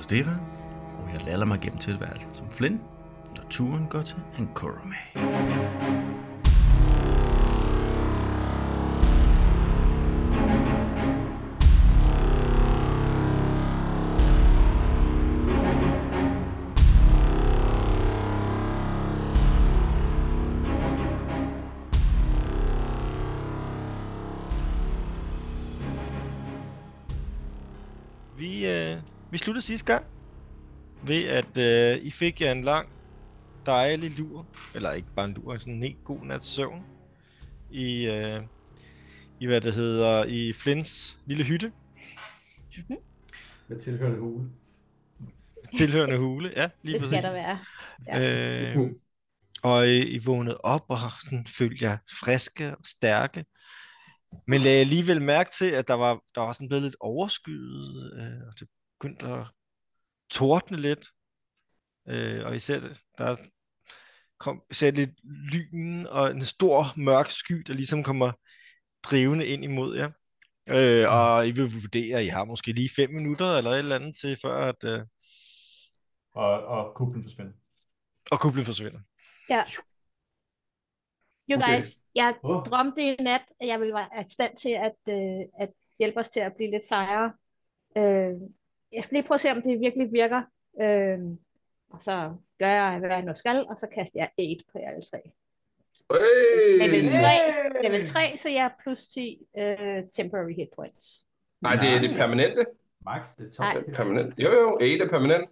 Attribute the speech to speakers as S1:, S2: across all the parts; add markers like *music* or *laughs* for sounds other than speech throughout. S1: Stefan, og jeg lader mig gennem tilværelsen som Flynn, når turen går til Ankorome.
S2: Vi, øh, vi sluttede sidste gang ved, at øh, I fik jer en lang, dejlig lur. Eller ikke bare en lur, sådan en helt god nats søvn. I, øh, i hvad det hedder, i Flins lille hytte. *laughs*
S3: Med tilhørende hule.
S2: Tilhørende hule, ja, lige
S4: Det
S2: præcis.
S4: skal der være.
S2: Øh, og I, I vågnede op og sådan, følte jer friske og stærke. Men lagde alligevel mærke til, at der var, der var sådan blevet lidt overskyet, øh, og det begyndte at tordne lidt. Øh, og især det- der kom især lidt lyn og en stor mørk sky, der ligesom kommer drivende ind imod jer. Øh, og I vil vurdere, at I har måske lige fem minutter eller et eller andet til, før at, øh,
S3: Og, og kuplen forsvinder.
S2: og kublen forsvinder.
S4: You
S3: Okay.
S4: guys, jeg
S3: Åh,
S4: drømte i nat, at jeg ville være i stand til at, øh, at hjælpe os til at blive lidt sejere. Øh, jeg skal lige prøve at se, om det virkelig virker. Øh, og så gør jeg, hvad jeg nu skal, og så kaster jeg 8 på jer alle tre. Level 3, level 3 så jeg er plus 10 øh, temporary hit points.
S5: Nej, det er det permanente.
S3: Max, det er top.
S4: Nej.
S3: Ja,
S5: Permanent. Jo, jo, 8 er permanent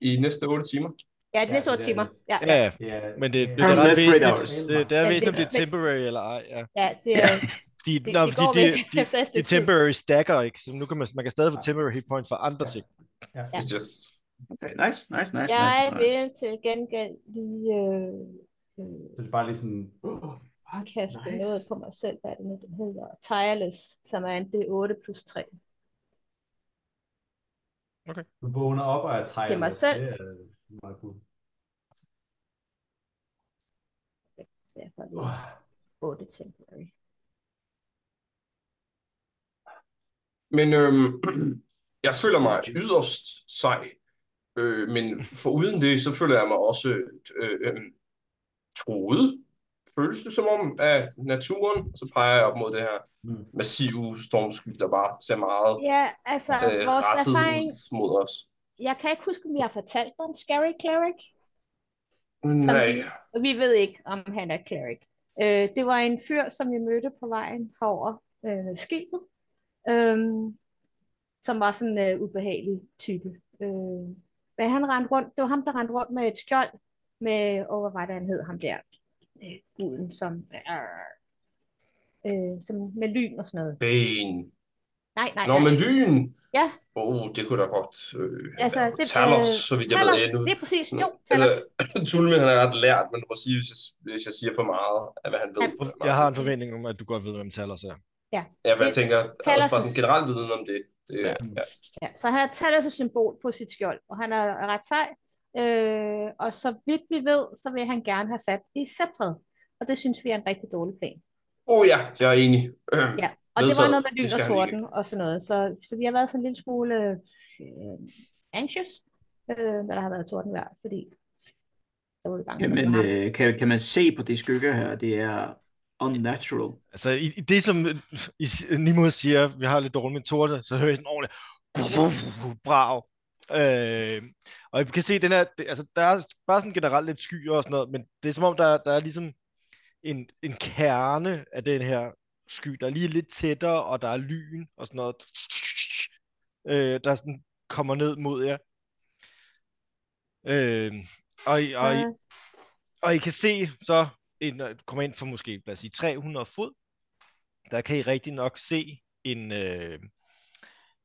S5: i næste 8 timer.
S4: Ja, det
S3: Ja,
S4: er så
S3: det er-
S4: timer. Ja, ja,
S2: Ja, ja.
S3: Ja,
S2: Men det, det,
S3: Ja,
S2: er ret
S6: Red Freight
S2: væsentligt, det, det er
S4: det-
S2: væsentligt, om det er
S4: det-
S2: temporary eller ej. Ja.
S4: ja det, er-
S2: Fordi,
S4: det,
S2: nå,
S4: det
S2: fordi
S4: går
S2: de,
S4: væk
S2: de,
S4: efter et
S2: de
S4: stykke tid.
S2: temporary stacker ikke, så nu kan man, man kan stadig få temporary hit point for andre
S3: Ja.
S2: ting.
S3: ja.
S5: It's just...
S6: Okay, nice, nice, nice.
S4: Jeg
S6: nice,
S4: vil
S6: nice.
S4: til gengæld lige øh, øh,
S3: Så det er bare lige sådan... Uh,
S4: kaste
S3: Nice.
S4: nice. noget på mig selv, hvad er det nu, den hedder? Tireless, som er en D8 plus 3.
S3: du vågner op og er tegnet.
S4: Til mig selv.
S3: Det er meget cool.
S4: Så jeg får lige
S3: Uh,
S4: 8 temporary.
S5: Men øhm, *clears throat* jeg føler mig yderst sej. Øh, men for uden det, så føler jeg mig også øh, øh, troet. Føles det som om af naturen, så peger jeg op mod det her
S3: Mm.
S5: massive stormsky, der bare ser meget
S4: Ja, altså,
S5: øh,
S4: vores
S5: rettet
S4: erfaring,
S5: ud mod os.
S4: jeg kan ikke huske, om jeg har fortalt dig om Scary Cleric.
S5: Nej,
S4: vi- Og vi ved ikke, om han er cleric. Øh, det var en fyr, som vi mødte på vejen over øh, skibet, øh, som var sådan en øh, ubehagelig type. Øh, men han rendte rundt, det var ham, der rendte rundt med et skjold med, åh, hvad var det, han hed, ham der, øh, guden, som, øh, øh, som med lyn og sådan noget.
S5: ben.
S4: Nej, nej,
S5: Nå,
S4: nej.
S5: men lyn!
S4: Ja,
S5: Oh, det kunne da godt... Øh,
S4: Altså,
S5: være.
S4: det-
S5: Talos,
S4: øh,
S5: så vidt jeg
S4: Talos,
S5: ved endnu.
S4: det er præcis,
S5: Nå,
S4: jo,
S5: altså,
S4: Talos.
S5: Tulme, han er ret lært, men du må sige, hvis jeg, hvis jeg siger for meget af, hvad han ved.
S4: Han-
S5: Martin.
S2: Jeg har en forventning om, at du godt ved, hvem Talos er.
S5: Ja, for jeg
S4: Det-
S5: tænker, altså
S4: Talos-
S5: bare sådan generel viden om det. det ja.
S2: Ja.
S5: ja.
S4: Ja, så han har Talos' symbol på sit skjold, og han er ret sej. Øh, og så vidt vi ved, så vil han gerne have fat i sceptret. Og det synes vi er en rigtig dårlig plan.
S5: Oh ja, jeg er enig. Øhm,
S4: *clears throat* Ja, og det var
S5: Vedtaget.
S4: noget med
S5: Det
S4: lyn
S5: skal
S4: og
S5: han
S4: torden og sådan noget. Så, så vi har været sådan en lille smule øh, anxious, øh, når der har været tordenvejr, fordi så var vi bange. for, at
S6: Jamen,
S4: det var ham.
S6: øh, kan, kan man se på de skygger her, det er unnatural.
S2: Altså, i, i det som øh, i, Nimue siger, vi har lidt dårligt med torte, så hører jeg sådan ordentligt, brav. Øh, og I kan se, den her, det, altså, der er bare sådan generelt lidt skyer og sådan noget, men det er som om, der, der er ligesom en, en kerne af den her sky, der er lige lidt tættere, og der er lyn og sådan noget, øh, der sådan kommer ned mod jer. Øh, og, I- og, I-
S4: Så-
S2: og I kan se så, en, når I kommer ind for måske, lad os sige, 300 fod, der kan I rigtig nok se en, øh,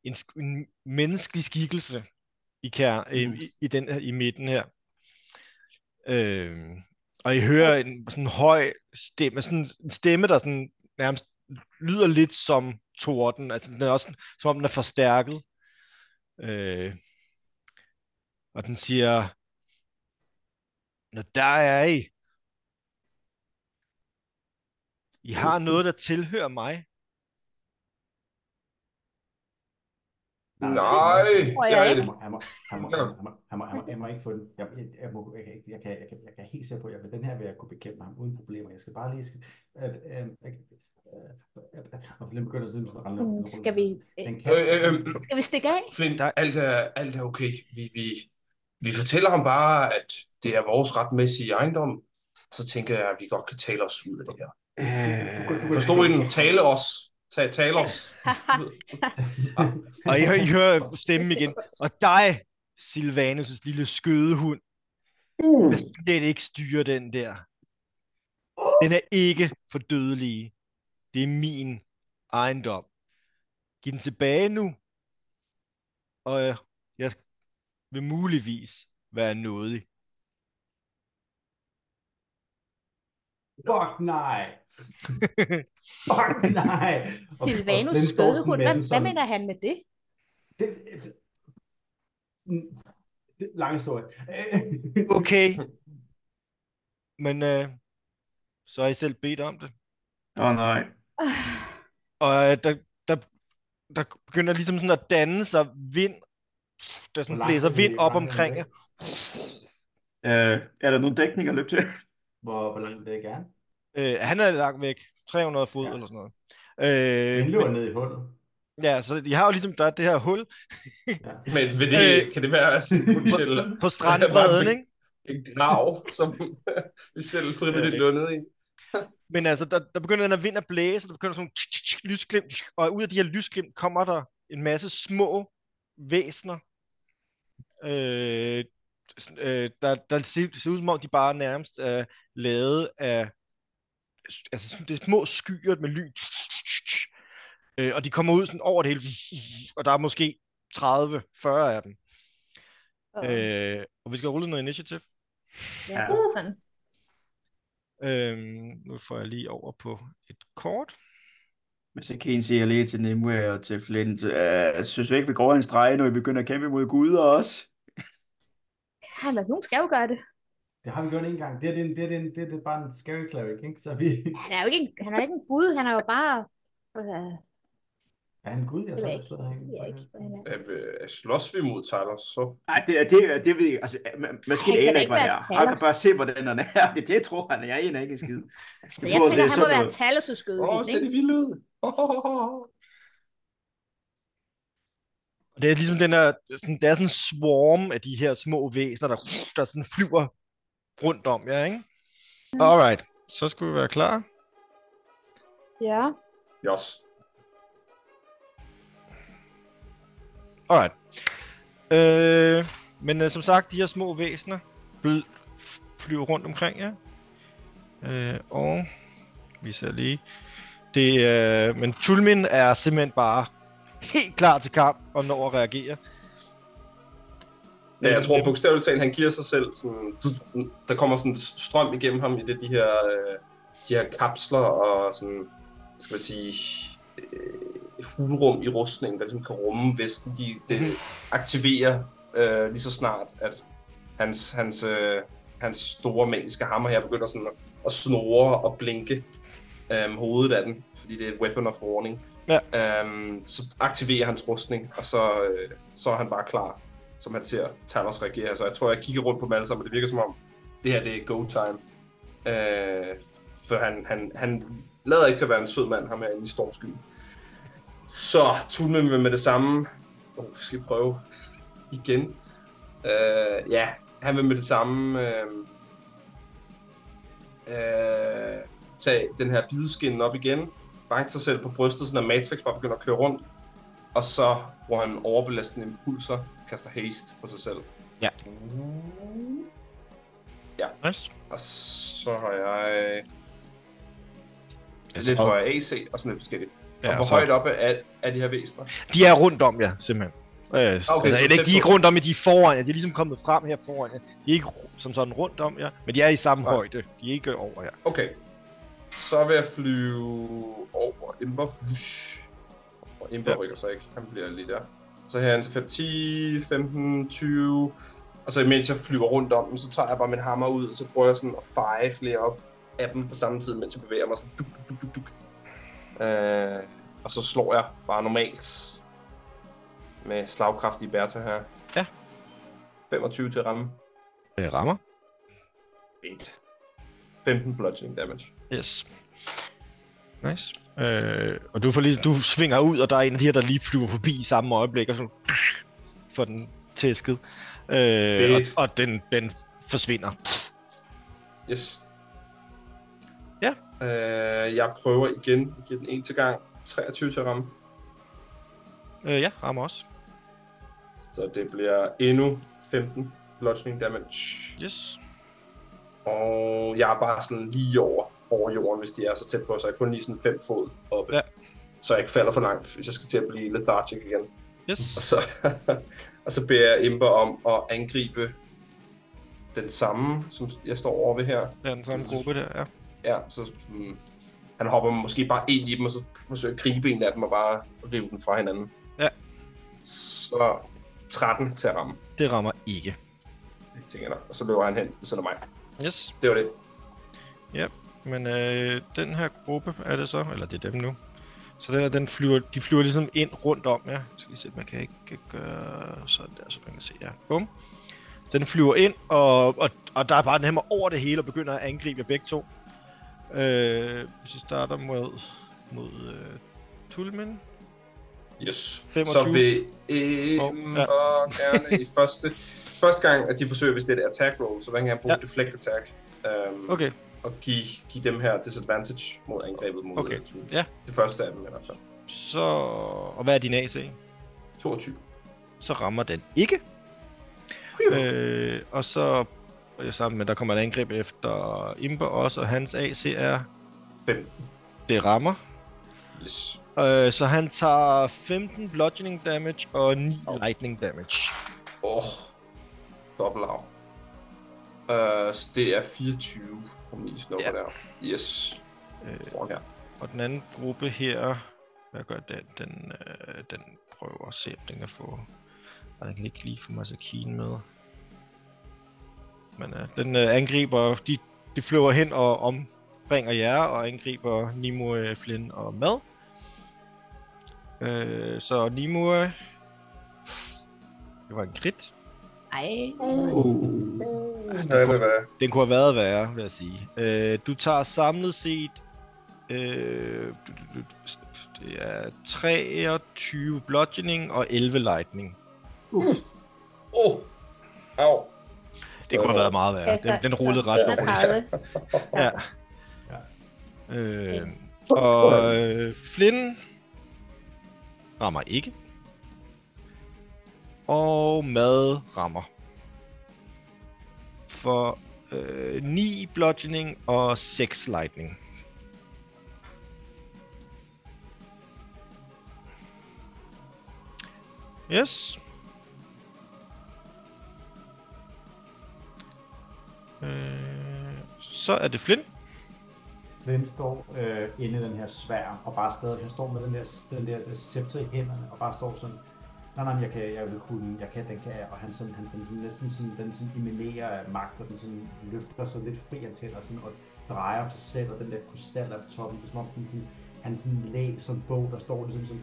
S2: en, sk- en menneskelig skikkelse i, kær, øh, i, i, den her, i midten her. Øh, og I hører en sådan høj stemme, sådan en stemme, der sådan nærmest lyder lidt som torden, altså den er også som om den er forstærket. Øh, og den siger, Nå, der er I. I har noget, der tilhører mig.
S5: *clears throat* Nej,
S4: Tror jeg
S5: jeg,
S3: Han
S5: jeg,
S3: må, han må, han må, han må, han må, han må, han må, han må ikke få den. Jeg, jeg, jeg, må, jeg, kan ikke- jeg, kan, jeg, kan, jeg kan helt sikker på, at jeg, den her vil jeg kunne bekæmpe ham uden problemer. Jeg skal bare lige... Skal, øh, øh, øh, øh, og Flynn begynder at sidde med sådan en
S4: Mm,
S3: rende-
S4: Skal vi, øh,
S3: Den kan,
S5: øh, øh, øh,
S4: skal vi stikke af?
S5: Flint,
S2: Der-
S5: alt er, alt er okay. Vi, vi, vi fortæller ham bare, at det er vores retmæssige ejendom, og så tænker jeg, at vi godt kan tale os ud af det her. Forstod I den? Tale os. Tag, tale os.
S2: Og I, hører- I hører stemmen igen. Og dig, Silvanus' lille skødehund,
S5: Uh.
S2: kan slet ikke styre den der. Den er ikke for dødelige. Det er min ejendom. Giv den tilbage nu, og øh, jeg vil muligvis være nådig.
S3: Fuck nej! Fuck nej! Og- og
S4: Silvanus
S3: Flynn står sådan
S4: skødehund,
S3: med
S4: hvad, hvad
S3: den sådan-
S4: mener han med det?
S3: Det, det, Mm, det, lang historie.
S2: Okay. Men øh, så har I selv bedt om det.
S6: Åh oh, nej.
S4: Ah,
S2: Og øh, der, der, der begynder ligesom sådan at danne sig vind. Der sådan blæser vind op omkring jer.
S6: Øh, er der nogen dækning at løbe *laughs* til?
S3: Hvor, hvor langt vil det gerne?
S2: Øh, han er langt væk. 300 fod
S3: Ja.
S2: eller sådan noget. Øh,
S3: Han løber ned i hullet.
S2: ja, så de har jo ligesom der er det her hul
S5: Men vil det,
S2: Øh.
S5: kan det være sådan en potentiel
S2: på strandbredden, ikke?
S5: en grav, som *laughs* vi selv frivilligt lønnede i?
S2: Men altså, der, der begynder den her vind at blæse, og der begynder sådan nogle tsk, tsk, tsk, lysglimt, tsk, og ud af de her lysglimt kommer der en masse små væsner, øh, sådan, øh, der, der ser, ser ud som om, de bare nærmest er lavet af altså, sådan- det er små skyer med lyn, tsk, tsk, tsk, tsk. øh, og de kommer ud sådan over det hele, og der er måske 30-40 af dem.
S4: og-
S2: Øh, og vi skal rulle noget initiativ.
S4: ja, sådan.
S2: Øhm, nu får jeg lige over på et kort.
S6: Men så kan I sige lige til Nimue og til Flint, øh, synes du ikke, vi går en streg, når vi begynder at kæmpe mod guder også?
S4: Ja, men nogen skal jo gøre det.
S3: Det har vi gjort en gang. Det er, det, det, er, det, er, det er bare en scary cleric, ikke? Så vi...
S4: Han er jo ikke en, han er ikke en gud, han er jo bare... Øh,
S3: Er han gud? Jeg
S4: Det
S3: så
S4: ved jeg
S3: ikke forstået, han
S4: det ved jeg ikke, hvad han er.
S5: At, øh, slås vi mod Tyler, så...
S6: Nej, det, det, det ved jeg altså, man, måske
S4: Ej,
S6: aner
S4: kan da
S6: ikke,
S4: ikke
S6: hvad det
S4: være
S6: er. Han kan
S4: Talos.
S6: bare se, hvordan den er. *laughs* Det tror han, jeg aner ikke en
S4: *laughs*
S6: skid.
S4: Så Altså, jeg tænker, han må være en
S5: Åh, oh,
S4: talesudskødehund,
S5: ser
S4: ikke?
S5: det vildt ud. Oh, oh, oh.
S2: Og det er ligesom den her, sådan, der er sådan en swarm af de her små væsener, der, der sådan flyver rundt om jer, ikke? Alright, så skal vi være klar.
S4: Ja.
S5: Yes.
S2: Alright. Øh, men øh, som sagt, de her små væsener bl- f- flyver rundt omkring jer. Øh, og vi ser lige. Det, øh, men Tulmin er simpelthen bare helt klar til kamp og når at reagere.
S5: Ja, jeg tror bogstaveligt talt, han giver sig selv sådan... Der kommer sådan en strøm igennem ham i det, de her, øh, de her kapsler og sådan... hvad Skal man sige... Øh, hulrum i rustningen, der ligesom kan rumme væsken. De, det aktiverer øh, lige så snart, at hans, hans, øh, hans store magiske hammer her begynder sådan at, at snore og blinke øhm, hovedet af den, fordi det er et weapon of warning.
S2: Ja.
S5: Øhm, så aktiverer hans rustning, og så, øh, så er han bare klar, som han ser Thanos reagere. Så jeg tror, jeg kigger rundt på dem alle sammen, og det virker som om, det her det er go time. Øh, for han, han, han lader ikke til at være en sød mand, ham herinde i stormskyen. Så Tulmen vil med det samme. Oh, vi skal prøve igen. Øh, ja, han vil med det samme øh, øh, tage den her bideskin op igen, banke sig selv på brystet, sådan at Matrix bare begynder at køre rundt, og så bruger han overbelastende impulser, kaster haste på sig selv.
S2: Ja. Nice.
S5: Og så har jeg...
S2: Jeg
S5: Det lidt
S2: tror-
S5: højere AC og sådan lidt forskelligt. Ja, og hvor
S2: så-
S5: højt oppe er, er de her væsener?
S2: De er rundt om jer, simpelthen. Øh, okay, altså,
S5: så
S2: eller
S5: tæt
S2: ikke, de er
S5: på.
S2: ikke rundt om jer, de er foran jer. De er ligesom kommet frem her foran jer. De er ikke ru- som sådan rundt om jer, men de er i samme
S5: Nej.
S2: højde. De er ikke over jer.
S5: Okay. Så vil jeg flyve over Ember. Whoosh. Og Ember
S2: Ja.
S5: ja. rykker sig ikke. Han bliver lige der. Så her er han til 5, 10, 15, 20. Og så imens jeg flyver rundt om dem, så tager jeg bare min hammer ud, og så prøver jeg sådan at feje flere op af dem på samme tid, mens jeg bevæger mig sådan duk, duk, duk, duk, duk. Øh, og så slår jeg bare normalt. med slagkraftige Bertha her.
S2: Ja.
S5: 25 til at ramme.
S2: Øh, rammer.
S5: Fint. 15 bludgeoning damage.
S2: Yes. Nice. Øh, og du, får lige, du svinger ud, og der er en af de her, der lige flyver forbi i samme øjeblik, og så får den tæsket. Øh, og,
S5: Fedt.
S2: og den, den forsvinder.
S5: Yes.
S2: Ja.
S5: Øh, jeg prøver igen. Jeg giver den en til gang. 23 til at ramme.
S2: Øh, ja, rammer også.
S5: Så det bliver endnu 15 bludgeoning damage.
S2: Yes.
S5: Og jeg er bare sådan lige over, over jorden, hvis de er så tæt på, så jeg er kun lige sådan 5 fod oppe.
S2: Ja.
S5: Så jeg ikke falder for langt, hvis jeg skal til at blive lethargic igen. Og
S2: Yes.
S5: så, *laughs* og så beder jeg Ember om at angribe den samme, som jeg står over ved her.
S2: Det er den samme gruppe der, ja.
S5: Ja, så mm, han hopper måske bare ind i dem, og så forsøger at gribe en af dem og bare rive den fra hinanden.
S2: Ja.
S5: Så 13 til at ramme,
S2: Det rammer ikke.
S5: tænker jeg. nok. Og så løber han hen ved siden af mig.
S2: Yes.
S5: Det var det.
S2: Men øh, den her gruppe er det så, eller det er dem nu. Så den her, den flyver, de flyver ligesom ind rundt om, ja. Jeg skal lige se, man kan ikke gøre sådan der, så man kan se, ja. Bum. Den flyver ind, og, og, og der er bare den hæmmer over det hele, og begynder at angribe jer begge to. Øh, hvis vi starter mod, mod øh, Tulmen.
S5: Yes.
S2: 25.
S5: Så vil Ember
S2: Ja.
S5: gerne i første, første gang, at de forsøger, hvis det er et attack roll, så hvordan kan jeg bruge
S2: Ja.
S5: ja. deflect attack? Um,
S2: Okay,
S5: Og give, give dem her disadvantage mod angrebet mod
S2: Okay.
S5: øh, Tue.
S2: Ja.
S5: Det første af dem i hvert fald.
S2: så... Og hvad er din AC?
S5: 22.
S2: Så rammer den ikke. Øh, og så og jeg sammen med, der kommer et angreb efter Imber også, og hans AC er...
S5: 5.
S2: Det rammer.
S5: Yes.
S2: Øh, så han tager 15 bludgeoning damage og 9 lightning damage.
S5: Åh. Oh. Dobbelt af. Uh, så det er 24, om lige snupper
S2: Ja.
S5: ja. der. Yes.
S2: Øh,
S5: Foran her.
S2: og den anden gruppe her... Hvad gør den? Den, øh, den prøver at se, om den kan få... Og den kan ikke lige få Masakine med. Men øh, den øh, angriber... De, de flyver hen og ombringer jer, og angriber Nimue, øh, Flynn og Mad. Øh, så Nimue... Det var en krit.
S4: Ej.
S5: Ja, det er det.
S2: Den kunne have været værre, vil jeg sige. Øh, du tager samlet set... Øh, du- du- du- det er 23 bludgeoning og 11 lightning. Uh.
S5: Åh. Oh. Au.
S2: Det kunne have været meget værre.
S4: Altså,
S2: Den, den rullede
S4: så
S2: ret dårligt.
S4: 31.
S2: Ja. Øh, og øh, Flynn rammer ikke. Og Mad rammer. For øh, 9 bludgeoning og 6 lightning. Yes. Øh, så er det Flynn.
S3: Den står øh, inde i den her svær, og bare stadig, han står med den der, den der øh, scepter i hænderne, og bare står sådan, nej, nej, men jeg kan, jeg vil kunne, jeg kan, den kan, jeg." og han sådan, han, den sådan, næsten sådan, den sådan eminerer af magt, og den sådan løfter sig lidt fri af tænder, sådan, og drejer sig selv, og den der krystal er på toppen, det er som om, den, sådan, han sådan læser en bog, der står ligesom sådan,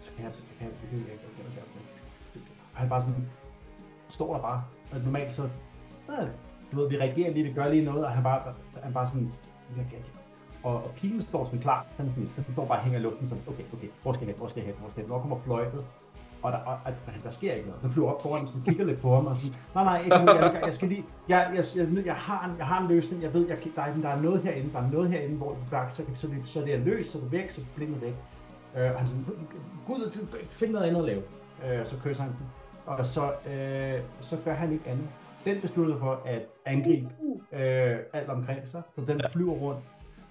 S3: så kan jeg, så kan jeg, det kan jeg, det kan jeg, det kan jeg, og han bare sådan, står der bare, og normalt så, "Øh, du ved, vi reagerer lige, det gør lige noget, og han bare, han bare sådan, jeg kan ikke. Og, og pilen står sådan klar, den, er sådan, den står bare og hænger i luften, sådan, okay, okay, hvor skal jeg hen, hvor skal jeg hen, hvor skal jeg hen, hvor kommer fløjtet? Og der, og, og, der sker ikke noget. Den flyver op foran, sådan, kigger lidt på ham og sådan, nej, nej, ikke nu, jeg, jeg, jeg skal lige, jeg, jeg, jeg, jeg, jeg, har en, jeg har en løsning, jeg ved, jeg, kan- der, er, der er noget herinde, der er noget herinde, hvor du faktisk, så, kan- så, vi- så det er løst, så er det væk, så er problemet væk. Øh, og han sådan, gud, du, find noget andet at lave. Øh, så kysser han den. Og så, øh, så gør han ikke andet. Den besluttede for at angribe øh, alt omkring sig, så den flyver rundt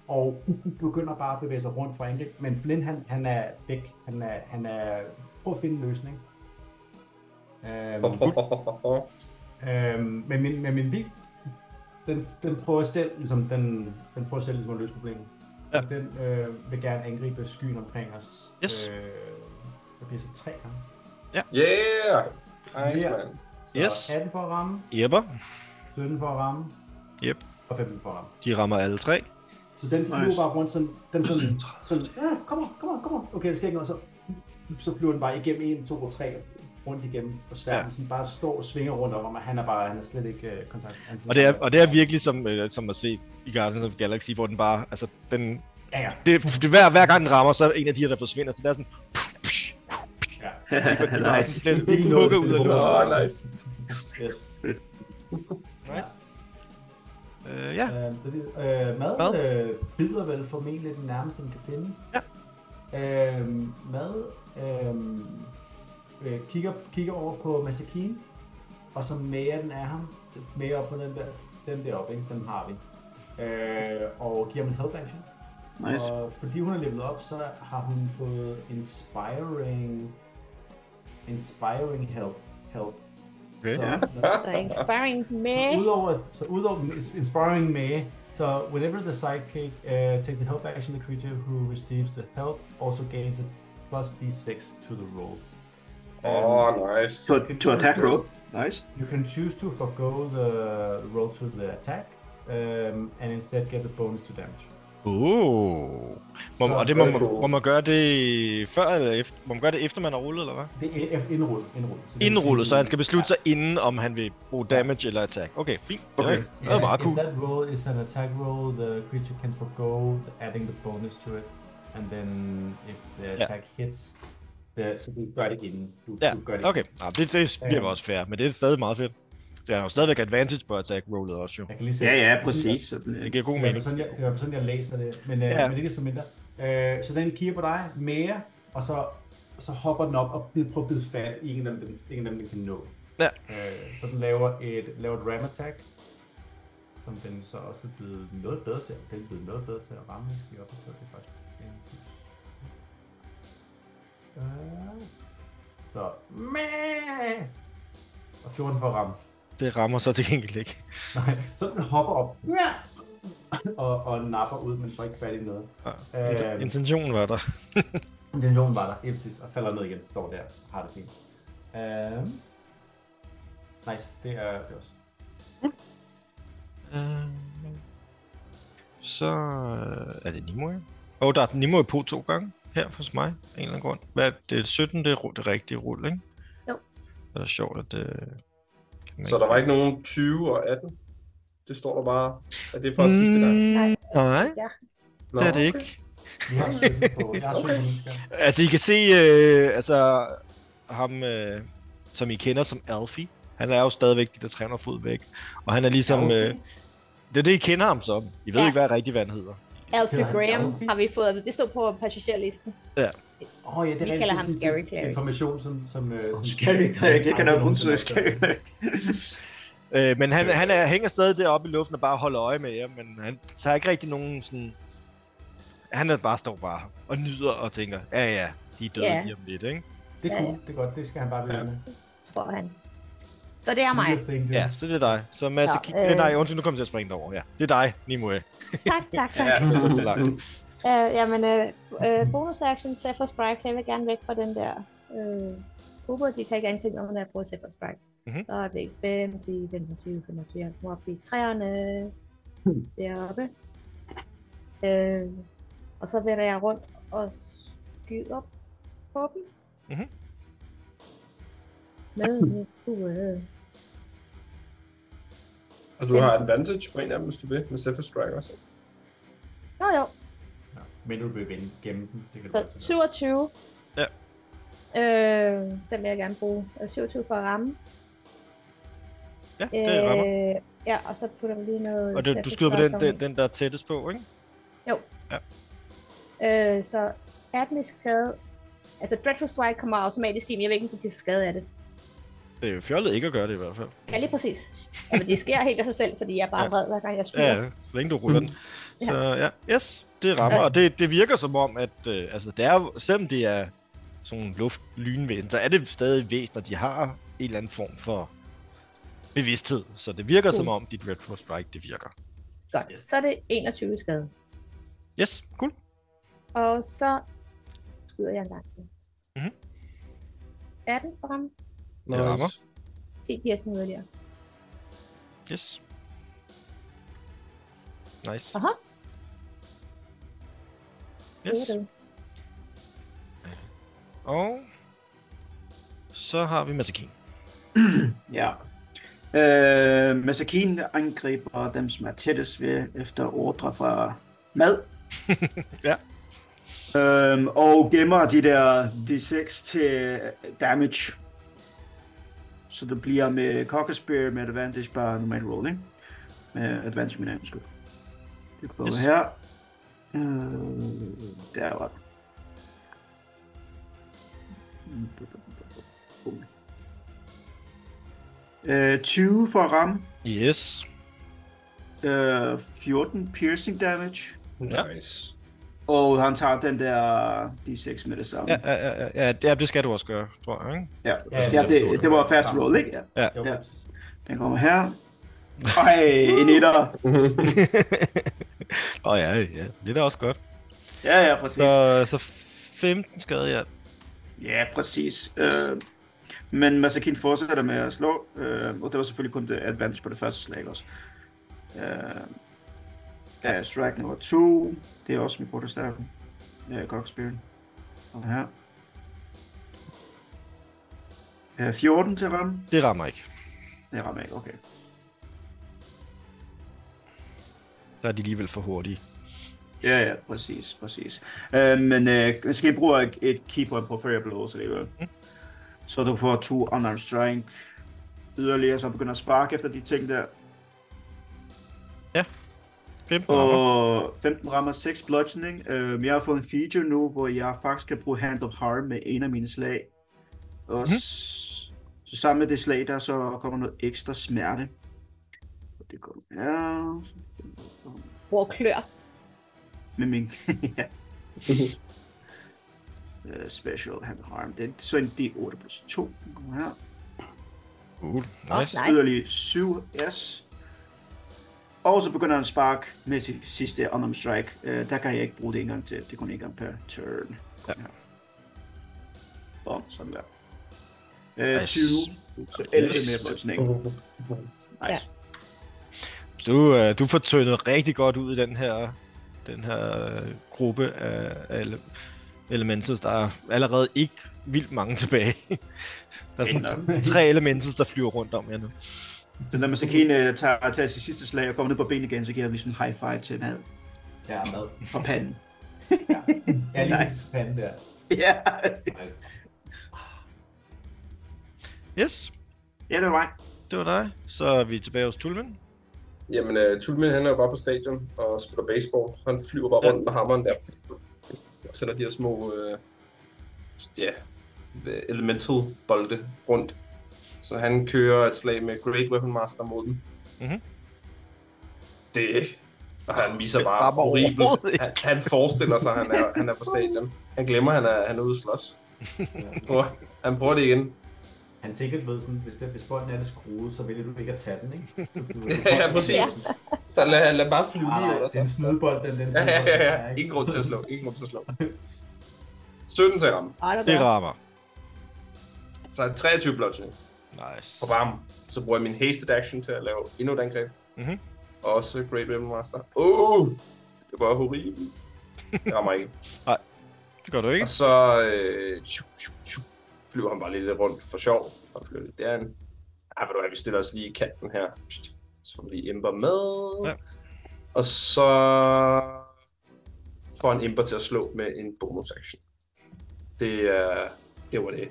S3: og begynder bare at bevæge sig rundt for angreb. Men Flynn, han, han er væk. Han er, han er... Prøv at finde en løsning. Øhm, øhm, men min, men min vild, den, den prøver selv, ligesom, den, den prøver selv ligesom at løse problemet.
S2: Ja.
S3: Den øh, vil gerne angribe skyen omkring os.
S2: Yes.
S3: Øh, det bliver så tre gange.
S5: yeah. Nice,
S3: Ja.
S5: man.
S3: Så
S2: Yes.
S3: 18 for at ramme,
S2: Jepper.
S3: 17 for at ramme,
S2: Yep.
S3: og 15 for at ramme.
S2: De rammer alle tre.
S3: Så den flyver
S6: Nice.
S3: nice. bare rundt sådan, den sådan,
S2: *clears throat*
S3: "Ah, sådan, ja, kom on, kom on, kom on. Okay, der sker ikke noget, så, så flyver den bare igennem 1, 2 og 3, og rundt igennem på sværmen,
S2: Ja.
S3: ja. sådan bare står og svinger rundt om, og han er bare, han er slet ikke øh, kontakt. Han sådan-
S2: Og det er, og det er virkelig som, øh, som at se i Guardians of the Galaxy, hvor den bare, altså den, *laughs*
S3: Ja, ja.
S2: det, det hver, hver gang den rammer, så er en af de her, der forsvinder, så det er sådan, de bare
S6: nice.
S2: sådan lidt hugger ud
S3: *laughs*
S2: af luften.
S5: Åh, nice.
S3: Yes.
S2: Nice. Øh, ja,
S3: Øh, det, er det. øh, mad
S2: Mad.
S3: øh, bider vel formentlig den nærmeste, den kan finde.
S2: Ja.
S3: Øh, mad øh, øh, kigger, kigger over på Masakine, og så mager den af ham, mager op på den der, den der op, ikke? den har vi. Øh, og giver ham en health action.
S6: Nice.
S3: Og fordi hun er levelet op, så har hun fået inspiring, inspiring help. help.
S2: Okay,
S3: så,
S6: ja.
S3: når-
S4: Så inspiring med.
S3: Udover, så udover ins- inspiring may, so whenever the sidekick uh, takes a health action, the creature who receives the health also gains a plus d6 to the roll.
S5: Åh, nice.
S6: To, to attack roll. Nice.
S3: You can choose to forgo the roll to the attack, um, and instead get the bonus to damage.
S2: Oh. Må,
S3: Så
S2: og det må,
S5: er
S2: man,
S5: det god.
S2: må man gøre det før eller efter? Må man gøre det efter man har rullet, eller hvad?
S3: Det er indrullet. Indrullet, så, det vil
S2: Indrullet,
S3: sige-
S2: så han skal beslutte sig inden, om han vil bruge damage eller attack. Okay, fint.
S5: Okay.
S2: Okay. Det er meget
S3: if
S2: cool.
S3: that roll is an attack roll, the creature can forgo the- adding the bonus to it, and then if the
S2: Ja.
S3: attack hits, the, så du gør det inden. Du,
S2: Ja,
S3: du gør det
S2: okay. Nå, det, det virker også fair, men det er stadig meget fedt. Så han har jo stadigvæk advantage på attack rollet også, jo.
S3: Jeg kan lige se.
S6: Ja, ja, præcis. Så bliver-
S2: Det giver god
S3: Det er i hvert
S2: mening.
S3: fald sådan, jeg, det er i hvert fald sådan, jeg læser det, men, ja.
S2: Ja.
S3: øh, men ikke desto mindre. Øh, så den kigger på dig, mere, og så, så hopper den op og bid, prøver at bide fat i en af dem, den, en af dem, den kan nå.
S2: Ja.
S3: Øh, så den laver et, laver et ram attack, som den så også er blevet noget bedre til. Den er blevet noget bedre til at ramme, Jeg skal vi op og tage det faktisk. Øh, Så, mæh! Og 14 for at ramme.
S2: Det rammer så til gengæld ikke.
S3: Nej, så den hopper op. og, og napper ud, men får ikke fat i noget.
S2: Ja.
S3: Øh,
S2: Intentionen var der.
S3: Intentionen var der, ja, præcis, og falder ned igen, står der, og har det fint. Øh, nice, det er det er også.
S2: Øh, Så øh, er det Nimue. Åh, oh, der er Nimue på to gange her hos mig, af en eller anden grund. Hvad er det? 17, det er ru- det rigtige rulle, ikke?
S4: Jo.
S2: Det er sjovt, at øh, det... kan man
S5: Så der var ikke nogen 20 og 18? Det står der bare, at det er fra mm. sidste gang.
S2: Nej, Nej
S4: Ja.
S5: Nå.
S2: det er det ikke.
S3: Vi har 17 på, jeg har 17 mennesker.
S2: Altså, I kan se, øh, altså, ham, øh, som I kender som Alfie, han er jo stadigvæk de der 300 fod væk. Og han er ligesom...
S5: Alfie?
S2: Øh, det er det, I kender ham som. I ved
S4: Ja.
S2: ikke, hvad rigtig hvad han hedder.
S4: Alfie
S3: Hedder han
S4: Graham
S3: Alfie?
S4: har vi fået at vide. Det stod på passagerlisten.
S3: Åh oh, ja, det er
S4: Vi
S3: rent
S4: kalder
S3: sådan
S4: ham
S3: set
S4: Scary Cleric.
S3: Information, som... som, øh, som
S6: Scary Craig. Jeg kender jo kun sådan noget Scary Craig. *laughs*
S2: Øh, men han, han er, hænger stadig deroppe i luften og bare holder øje med jer, men han tager ikke rigtig nogen sådan... Han er bare står bare og nyder og tænker, ja ja, de er døde
S4: Ja.
S2: yeah. lige om lidt, ikke?
S3: Det er
S4: Ja,
S3: cool, det er godt, det skal han bare blive
S2: Ja.
S3: med.
S4: tror han. Så det er mig.
S3: Lille thing, det.
S2: Ja, så det er dig. Så Mads,
S4: Nå,
S2: ja, øh...
S4: øh.
S2: nej, undskyld, nu kommer jeg til at springe derover. Ja, det er dig, Nimue.
S4: Tak, tak, tak.
S2: Ja, det tog så *laughs* langt.
S4: Øh, jamen, øh, øh, bonus action, Zephyr Strike, jeg vil gerne væk fra den der øh, gruppe, de kan ikke angribe mig, når jeg bruger Zephyr Strike.
S2: Mhm.
S4: Mm-hmm. Så er det 5, 10, 15, 20, 25, jeg kommer op i træerne deroppe. Øh, og så vender jeg rundt og skyder på dem.
S2: Mhm.
S4: Med mit kue.
S5: Og du har advantage på en af dem, hvis du vil, med Zephyr Strike også.
S4: Jo jo,
S3: Ja, Men du vil vende gennem den, det kan du
S4: så
S3: godt se.
S4: 27.
S2: Ja.
S4: Øh, den vil jeg gerne bruge. Øh, 27 for at ramme.
S2: Ja, det rammer.
S4: Øh, ja, og så putter vi lige noget...
S2: Og du, du skyder på den, den, den, der er tættest på, ikke?
S4: Øh, så 18 i skade... Altså, Dreadful Strike kommer automatisk ind. Jeg ved ikke, om de tager skade af det.
S2: Det er jo fjollet ikke at gøre det i hvert fald.
S4: Ja, lige præcis. Ja, men det sker helt af sig selv, fordi jeg er bare
S2: Ja.
S4: ja. vred, hver gang jeg skyder.
S2: Ja, ja, så længe du ruller den.
S4: Ja.
S2: Så ja, yes, det rammer.
S4: Ja.
S2: Og det, det virker som om, at øh, altså, det er, jo- selvom det er sådan nogle luftlynvæsen, så er det stadig væsener, de har en eller anden form for bevidsthed. Så det virker som
S4: Cool.
S2: om, dit Dreadful Strike, det virker.
S4: Godt. Så er det 21 i skade.
S2: Yes, cool.
S4: Og så skyder jeg en gang til.
S2: Mhm.
S4: 18 for ham.
S2: Det rammer.
S4: 10 piercing yderligere.
S2: Yes. Nice.
S4: Aha. Det
S2: Yes.
S4: er det.
S2: Og Så har vi Masakin.
S6: Ja. Øh, Masakin angriber dem, som er tættest ved, efter ordre fra mad.
S2: Ja.
S6: Øhm, og gemmer de der D6 til damage. Så det bliver med Cocker Spear med advantage bare normal roll, ikke? Med advantage, min anden skud. Det går
S2: Yes.
S6: yes. her. Øh, der var den. Øh, 20 for at ramme.
S2: Yes.
S6: Øh, 14 piercing damage.
S2: Ja.
S5: Nice.
S6: Og han tager den der D6 med det samme.
S2: Ja, ja, ja, ja, ja, det- det skal du også gøre, tror jeg. Ikke?
S6: ja.
S3: Ja,
S6: ja det, det var fast roll, ikke? Ja.
S3: Jo,
S6: Ja. Den kommer her. Ej, en etter.
S2: *laughs* Åh oh, ja, ja, det er da også godt.
S6: Ja, ja, præcis.
S2: Så, så 15 skade, ja.
S6: Ja, præcis. Øh, men Masakin fortsætter med at slå, øh, og det var selvfølgelig kun det advantage på det første slag også. Øh, ja, strike nummer 2, det er også min protestakke. Ja, Cockspirit. Og her. Øh, 14 til at ramme.
S2: Det rammer ikke.
S6: Det rammer ikke, okay.
S2: Der er de alligevel for hurtige.
S6: Ja, ja, præcis, præcis. Øh, men øh, måske bruger jeg et keeper på Fairy Blow, så det er jo- Så du får to unarmed strike yderligere, så begynder at sparke efter de ting der.
S2: 15 rammer.
S6: Og 15 rammer 6 bludgeoning. Øh, jeg har fået en feature nu, hvor jeg faktisk kan bruge Hand of Harm med en af mine slag. Og
S2: Mhm.
S6: mm. så sammen med det slag der, så kommer noget ekstra smerte. Og det går ja,
S4: Hvor klør.
S6: med min *laughs* ja. Øh, special Hand of Harm. Det er så en D8 plus 2. Den kommer her.
S2: Uh,
S4: Åh,
S2: nice.
S4: nice.
S6: Yderligere 7 S. Og så begynder han spark med sit sidste unarmed strike. Øh, der kan jeg ikke bruge det en gang til. Det er kun en gang per turn.
S2: Ja.
S6: Her. Bom, sådan der. Øh,
S2: Nice.
S6: 20. Så 11 mere
S5: Yes.
S6: bludgeoning. Nice.
S2: Du, øh, du får tyndet rigtig godt ud i den her, den her øh, gruppe af, af ele- elementals. Der er allerede ikke vildt mange tilbage. *laughs* der er
S3: *laughs*
S2: sådan tre elementals, der flyver rundt om jer nu.
S6: Så når Masakine øh, tager, tager sit sidste slag og kommer ned på benene igen, så giver jeg ligesom en high five til mad
S3: Ja, mad.
S6: og panden. *laughs*
S3: Ja, ja lige
S6: Nice.
S3: nice. pande der.
S6: ja,
S3: Nice.
S2: Yes,
S6: ja, det var mig.
S2: det var dig. Så er vi tilbage hos Tulmen.
S5: Jamen, uh, Tulmin, han er jo bare på stadion og spiller baseball. Han flyver bare
S2: Ja.
S5: rundt med hammeren der. Og sender de her små, uh, ja, elemental bolde rundt. Så han kører et slag med Great Weapon Master mod den.
S2: Mhm.
S5: Det og han viser
S2: Det
S5: bare
S2: rammer overhovedet
S5: horribelt.
S2: ikke.
S5: Han, han, forestiller sig, at han er, han er på stadion. Han glemmer, at han er, han er ude at slås.
S2: *laughs*
S5: Prøver, han prøver det igen.
S3: Han tænker, du ved, sådan, hvis, det, hvis bolden er lidt skruet, så vælger du ikke at tage den, ikke? Du, du,
S5: *laughs* ja, præcis. Så lad, lad bare flyve
S3: Nej,
S5: lige
S3: nej,
S5: under
S3: det er
S5: sig.
S3: en snydebold, den, den
S5: Ja, ja,
S3: snydebold,
S5: ja,
S3: der
S5: ja.
S3: er, ikke?
S5: Ingen grund til at slå. Ingen grund til at slå. 17 til ham.
S4: Ej, der
S2: Det
S4: gør.
S2: rammer.
S5: Så 23 bludgeoning.
S2: Nice.
S5: Og bam. Så bruger jeg min hasted action til at lave endnu et angreb.
S2: Mhm.
S5: Også Great Weapon Master. Åh! Oh, det var horribelt. Det rammer ikke.
S2: Det gør du ikke.
S5: Og så øh, tju, tju, tju, flyver han bare lidt rundt for sjov. Og flyver lidt derhen. Ej, ved du hvad, vi stiller os lige i kanten her. Pst. Så får vi Ember med.
S2: Ja.
S5: Og så får han Ember til at slå med en bonus action. Det, er, det var det.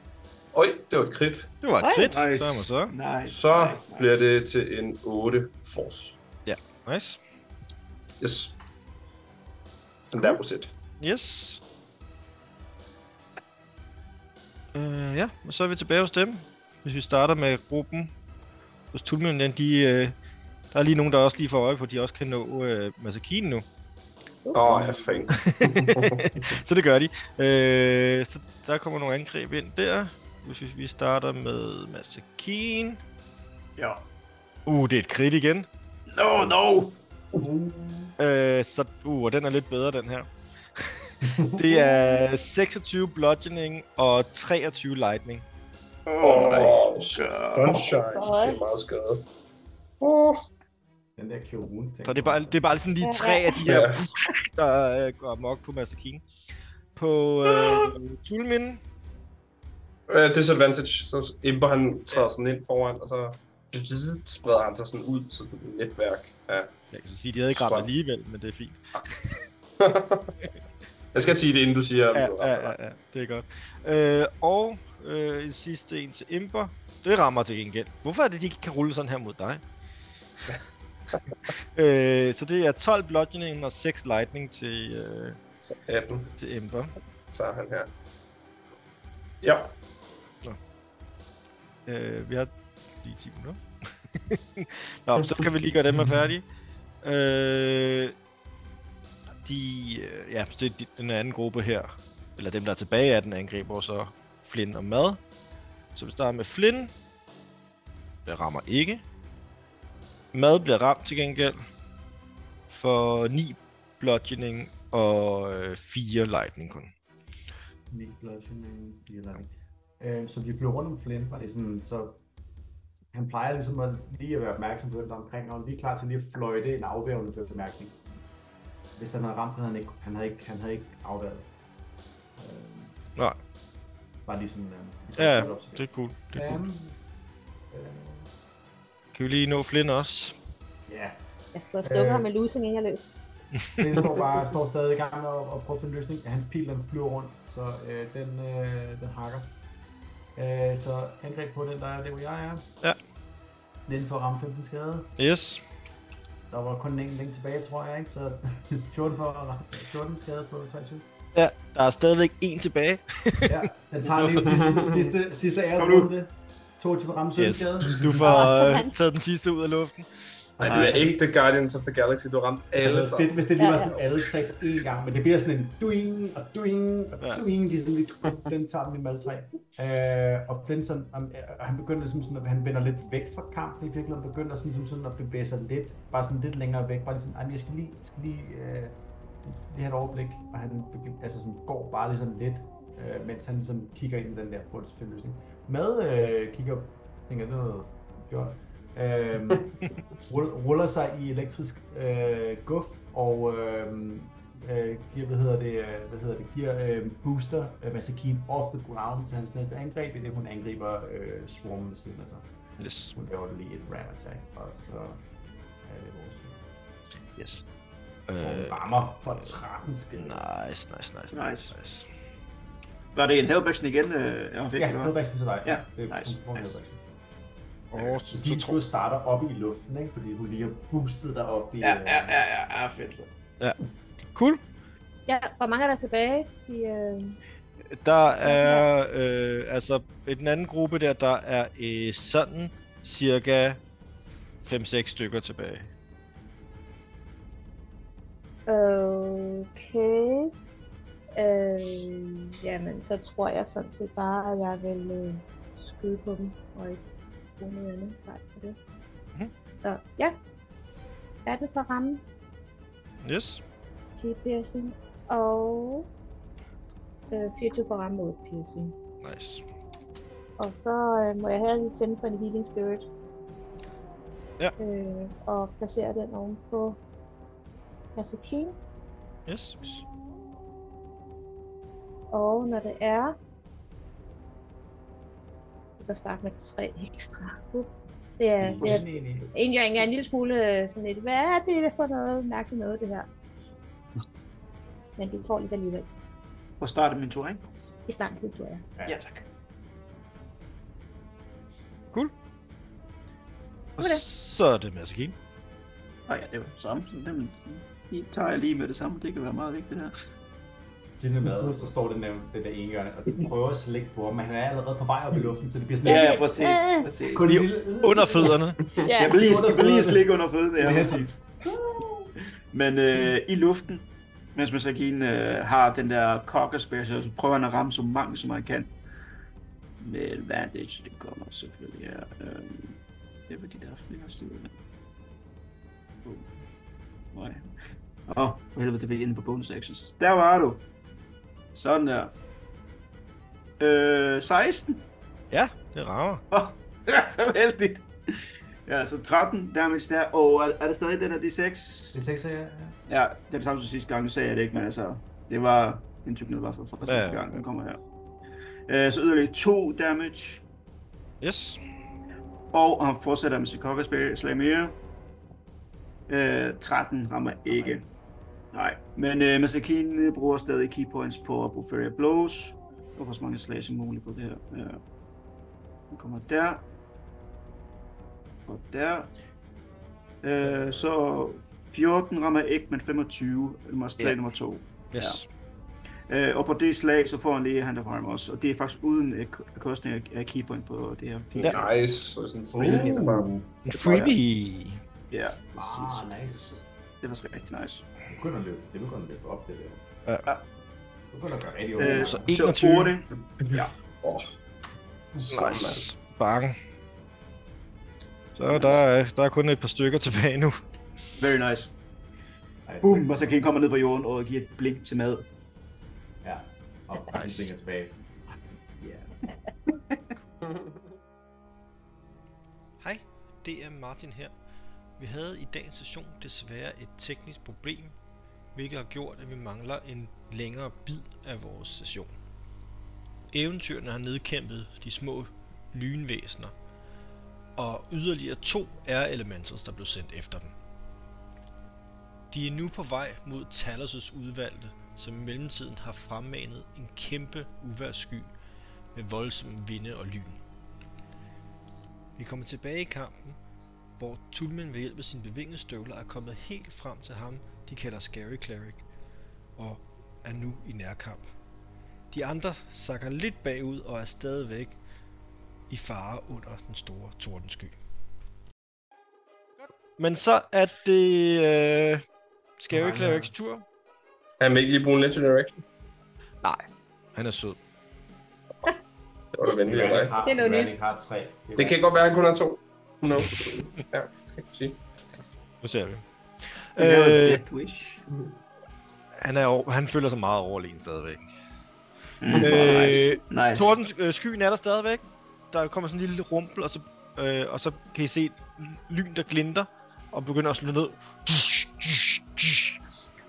S5: Øj, det var et crit.
S2: Det var et
S4: Oj.
S2: crit.
S6: Nice.
S2: Så er man så.
S6: Nice.
S5: Så
S6: nice, nice.
S5: bliver det til en 8 force.
S2: Nice.
S5: Yes. And that was it.
S2: Yes. Øh, ja, og så er vi tilbage hos dem. Hvis vi starter med gruppen hos Tulmen, den, de, øh, der er lige nogen, der også lige får øje på, at de også kan nå øh, Masakine nu. *laughs*
S5: Åh,
S4: Uh,
S5: oh, jeg er fan.
S2: så det gør de. Øh, så der kommer nogle angreb ind der. Hvis vi- vi starter med Masakine.
S6: Ja.
S2: Uh, det er et crit igen.
S6: No, no.
S2: Øh, så, uh, og den er lidt bedre, den her. *laughs* det er 26 bludgeoning og 23 lightning.
S6: Oh, my God.
S5: Sunshine. Det er meget skadet.
S3: *laughs* Den der kjole, tænker
S2: Så det er bare, det er bare sådan lige
S4: Ja,
S2: tre
S4: ja.
S2: af de her,
S5: Ja. *laughs*
S2: der øh, går amok på Masakine. På øh, Tulmin,
S5: Øh, disadvantage, så Imber han træder sådan ind foran, og så spreder han sig sådan ud, så det er et netværk af...
S2: Jeg kan så sige, at de havde ikke ramt
S5: Strøm.
S2: alligevel, men det er fint.
S5: jeg skal sige det, inden du siger,
S2: Ja,
S5: at du rammer
S2: ja,
S5: dig.
S2: ja, ja, det er godt. Øh, og øh, en sidste en til Imber. Det rammer til gengæld. Hvorfor er det, de ikke kan rulle sådan her mod
S5: *laughs*
S2: dig? øh, så det er 12 bludgeoning og 6 lightning til, øh,
S5: Så 18
S2: til Imber.
S5: tager han her. Ja,
S2: Øh, vi har lige 10 minutter. *laughs* Nå, så kan vi lige gøre dem her færdige. Øh, de, øh, ja, så de, den anden gruppe her, eller dem, der er tilbage af den, angriber så Flynn og Mad. Så vi starter med Flynn. Det rammer ikke. Mad bliver ramt til gengæld. For 9 bludgeoning og øh, 4 lightning kun.
S3: Min bludgeoning, lige eller øh, Så vi flyver rundt om Flynn, var det sådan, så han plejer ligesom at lige at være opmærksom på, hvem der er omkring, og han er lige klar til lige at fløjte en afværgende bemærkning. Hvis han havde ramt, havde han ikke, han havde ikke, han havde ikke afværet. Øh,
S2: Nej.
S3: bare lige sådan, øh, vi skal
S2: Ja,
S3: holde op til
S2: det er cool. Det er cool.
S3: Øhm, øh,
S2: Kan vi lige nå Flynn også?
S3: Ja,
S4: Jeg skulle have stukket
S3: Øh.
S4: ham med lusing, inden jeg løb.
S3: den står bare står stadig i gang og, og prøver at finde en løsning. Hans pil den flyver rundt, så øh, den, øh, den hakker. Øh, så angreb på den, der er det, hvor jeg er.
S2: Ja.
S3: Den får ramt 15 skade.
S2: Yes.
S3: Der var kun en enkelt længe tilbage, tror jeg, ikke? Så *laughs* 14, for, at ramme- 14 skade på 23.
S2: Ja, der er stadigvæk en tilbage.
S3: Ja, den tager
S2: *laughs*
S3: lige sidste, sidste, sidste æresrunde. 22 ramme 17
S2: Yes.
S3: skade.
S2: Du får
S4: Åh,
S2: øh,
S4: sådan.
S2: taget den sidste ud af luften.
S5: Ej, du er ikke The Guardians of the Galaxy, du har ramt
S3: Det
S5: alle
S3: var fedt,
S5: sammen.
S3: hvis det lige
S4: Ja,
S3: var
S4: ja.
S3: sådan alle seks én gang, men det bliver sådan en duing og duing og
S2: Ja.
S3: duing, de er sådan lidt, den tager dem lige med alle tre. Øh, og Flinson, han, han begynder ligesom sådan, at han vender lidt væk fra kampen i virkeligheden, begynder sådan, som sådan at bevæge sig lidt, bare sådan lidt længere væk, bare lige sådan, "Ej, men jeg skal lige, jeg skal lige, øh, lige have et overblik, og han begy- altså sådan, går bare lige sådan lidt, øh, mens han ligesom kigger ind i den der bundspil løsning. Mad øh, kigger, tænker, det er noget fjort. Øh, rull- ruller sig i elektrisk øh, guf og øh, øh, giver, hvad hedder det, øh, hvad hedder det, giver øh, booster øh, Masakin off the ground til hans næste angreb, i det hun angriber øh, swarmen ved siden af sig.
S2: Yes.
S3: Hun laver lige et ram attack, og så er det vores tur.
S2: yes.
S3: Og hun
S2: Øh,
S3: rammer for 13 skade.
S2: nice, nice, nice, nice,
S6: Nice.
S2: nice.
S6: Var det en helvection igen, øh, jeg fik?
S3: Ja,
S6: eller hvad?
S3: hedvæksten til dig.
S6: Ja,
S3: det,
S6: nice,
S3: Hun får en
S6: nice.
S3: headback.
S2: Og
S3: Så
S2: så,
S3: din
S2: så tror
S3: tur starter oppe i luften, ikke? fordi hun lige har boostet dig op i...
S6: Ja,
S3: øh,
S6: ja, ja, ja, ja, fedt.
S2: Cool.
S4: Ja, hvor mange er der tilbage? I, øh...
S2: Der er, øh, altså, i den anden gruppe der, der er øh, sådan cirka 5-6 stykker tilbage.
S4: Okay. Øh, jamen, så tror jeg sådan set bare, at jeg vil øh, skyde på dem, og ikke bruge noget andet sejt for det.
S2: Mhm.
S4: Så ja. Hvad er det for ramme?
S2: Yes.
S4: 10 piercing og øh, 24 for ramme mod piercing.
S2: Nice.
S4: Og så øh, må jeg heller lige tænde på en healing spirit.
S2: Ja.
S4: Øh, og placere den oven på Kasakin.
S2: Yes.
S4: Og når det er... Vi kan starte med tre ekstra. Uh, Det er, det er
S3: sådan egentlig.
S4: en, jeg er en lille smule øh, sådan lidt, hvad er det for noget mærkeligt noget, det her? Men du får lidt alligevel.
S6: Og starte min tur, ikke?
S4: I starten, det tror jeg.
S3: Ja.
S6: Ja, tak.
S2: Og
S4: Okay.
S2: så er det Maskin.
S6: Nå ja, det var det samme. Så den, I tager jeg lige med det samme. Det kan være meget vigtigt her.
S3: Det med mad, og så står den der, det der ene hjørne, og den prøver at slikke på ham, men han er allerede på vej op i luften, så det bliver sådan
S6: Ja,
S4: Ja,
S6: ja, præcis.
S4: øh.
S6: præcis.
S3: kun
S2: de
S3: en lille-
S2: Under *laughs* fødderne.
S4: Ja,
S6: Jeg vil lige, jeg vil lige slikke under fødderne.
S3: Det
S6: Ja,
S3: er
S6: præcis.
S3: præcis.
S6: Men øh, i luften, mens Masakine øh, har den der cocker special, så prøver han at ramme så mange, som han kan. Med advantage, det kommer selvfølgelig her. Øh, det var de der flere sider. Oh. Nej. Åh, oh, for helvede, det var inde på bonus actions. Der var du. Sådan der. Øh, 16.
S2: Ja, det rammer.
S6: Åh, *laughs* det var heldigt. Ja, så 13 damage der. Og er, er der stadig den her D6?
S3: Det er seks, ja. Ah,
S6: Ja, det er det samme som sidste gang, nu sagde jeg det ikke, men altså, det var en type nedvarsel fra
S2: Ja,
S6: sidste
S2: ja.
S6: gang, den kommer her. Øh, så yderligere 2 damage,
S2: Yes.
S6: og han fortsætter med sit kokkerslag mere. Øh, 13 rammer ikke. Nej, men øh, Masakin øh, bruger stadig key points på at bruge Furrier Blows. Jeg håber så mange slag som muligt på det her. Ja. Den kommer der. Og der. Øh, så 14 rammer ikke, men 25 rammer slag
S2: Ja.
S6: nummer 2.
S2: Yes.
S6: Ja. Øh, og på det slag, så får han lige Hand of Harm også. Og det er faktisk uden øh, bekostning af- af keypoint på det her feature.
S5: Nice. Så sådan free
S6: Uh.
S5: hit farm.
S2: En freebie.
S6: Ja,
S3: Ah,
S6: præcis.
S3: nice.
S6: Det var sgu rigtig nice.
S3: Det begynder at løbe, det begynder at løbe op, det der.
S2: Ja.
S3: Det begynder at gøre rigtig
S6: Øh,
S3: ondt.
S2: så-
S6: Så
S2: 21.
S6: 8.
S5: Åh. Sådan, mand.
S2: Nice. Bang. Så der er, der er kun et par stykker tilbage nu.
S6: Very nice.
S3: Ej,
S6: Boom, og så kan I komme ned på jorden og give et blink til mad.
S3: Ja. Og nice.
S2: Nice.
S3: ting er tilbage. Ja.
S2: Hej, det er Martin her. Vi havde i dagens session desværre et teknisk problem, hvilket har gjort, at vi mangler en længere bid af vores session. Eventyrene har nedkæmpet de små lynvæsener, og yderligere to er elementals, der blev sendt efter dem. De er nu på vej mod Talos' udvalgte, som i mellemtiden har fremmanet en kæmpe uværssky med voldsomme vinde og lyn. Vi kommer tilbage i kampen, hvor Tulman ved hjælp af sine bevingestøvler er kommet helt frem til ham, de kalder Scary Cleric, og er nu i nærkamp. De andre sakker lidt bagud og er stadigvæk i fare under den store tordensky. Men så er det øh, Scary Clerics tur.
S5: Kan man ikke lige bruge en legendary action?
S2: Han er sød.
S5: Det var da venligt af dig.
S3: Har,
S4: Det er noget
S3: Rally
S4: nyt.
S3: Har tre.
S5: Det kan godt være, at han kun har to. No. Ja, det skal jeg ikke sige.
S2: Nu ser vi.
S6: Han laver et
S2: Øh,
S6: death wish.
S2: han, er, over- han føler sig meget overlegen stadigvæk.
S6: Mm,
S2: øh,
S6: nice. nice.
S2: Torden, øh, skyen er der stadigvæk. Der kommer sådan en lille rumpel, og så, øh, og så kan I se et lyn, der glinter, og begynder at slå ned.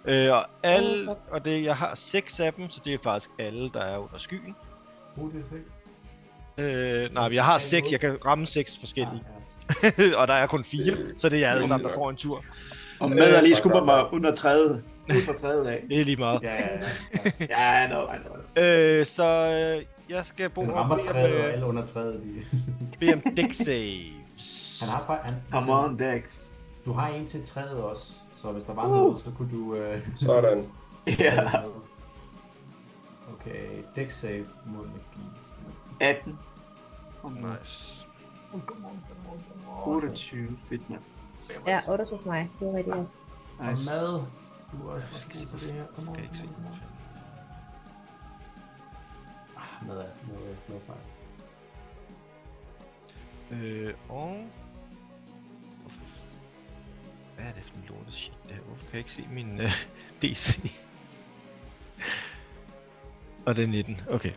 S2: Øh, og, alle, og det, jeg har seks af dem, så det er faktisk alle, der er under skyen.
S3: Brug Uh, det seks.
S2: Øh, nej, men jeg har seks, jeg kan ramme seks forskellige,
S3: Ah, ja.
S2: *laughs* og der er kun fire, så Øh, det er alle sammen, der får en tur.
S6: Og mad er lige
S5: øh,
S6: skubbet mig *laughs* under 30. Ud fra 30 af.
S2: Det er lige meget.
S3: Ja, ja, ja.
S6: Ja, no, I know.
S2: Øh, så øh, jeg skal *laughs* bruge
S3: Han
S2: om
S3: rammer
S2: bede om,
S3: træet, og
S2: øh,
S3: alle under træet lige.
S2: bede om deck saves.
S3: Han har fa- han,
S6: Come on, Dex.
S3: Du har en til træet også, så hvis der var uh. noget, så kunne du... Øh,
S5: Sådan.
S6: Ja,
S3: Okay, deck save mod magi.
S6: 18. Oh,
S2: Nice.
S6: 28, fedt mand.
S4: Ja, 8 hos mig. Det var rigtigt.
S3: Og
S6: Nice.
S3: mad. Du er også måske på det her. Kom on.
S2: Skal jeg ikke se.
S3: kom on. Ah, mad er noget, noget fejl.
S2: Øh, og... Hvorfor... Hvad er det for en lortet shit det her? Hvorfor kan jeg ikke se min øh, *laughs* DC? Og det er 19, okay.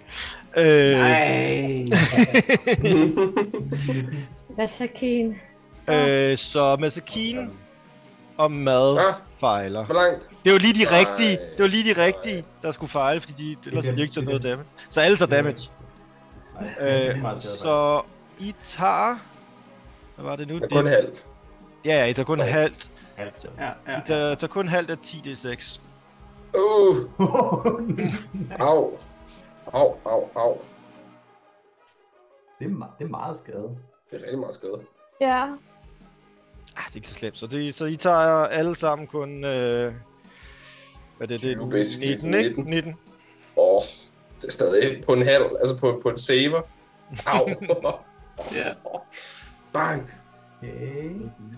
S2: Øh,
S6: Nej.
S4: Hvad så, Keen?
S2: øh, så Masakine og Mad
S5: Ja,
S2: fejler.
S5: hvor langt?
S2: Det var lige de
S5: Nej.
S2: rigtige, det var lige de rigtige, der skulle fejle, fordi de, ellers havde de jo ikke taget noget damage. Så alle tager damage.
S3: Nej, det er
S2: Øh,
S3: meget sjovt,
S2: så I tager... Hvad var det nu?
S5: Det er kun
S2: Det-
S5: halvt.
S2: Ja, ja, I tager kun
S5: Ja.
S2: halvt.
S3: faktisk. Alt.
S6: Ja, ja.
S2: I tager, tager kun halvt af 10 d6.
S5: Uh, au. Au, au, au.
S3: *laughs* det, er, me- det er meget skade.
S5: Det er rigtig meget skade.
S4: Ja. *laughs*
S2: Ah, det er ikke så slemt. Så, det, så I tager alle sammen kun... Øh, hvad er det, det er
S5: 20 basically.
S2: 19, ikke?
S5: 19.
S2: 19.
S5: Åh, oh, det er stadig på en halv, altså på, på en saver. Au.
S6: Ja.
S5: Bang.
S3: Okay.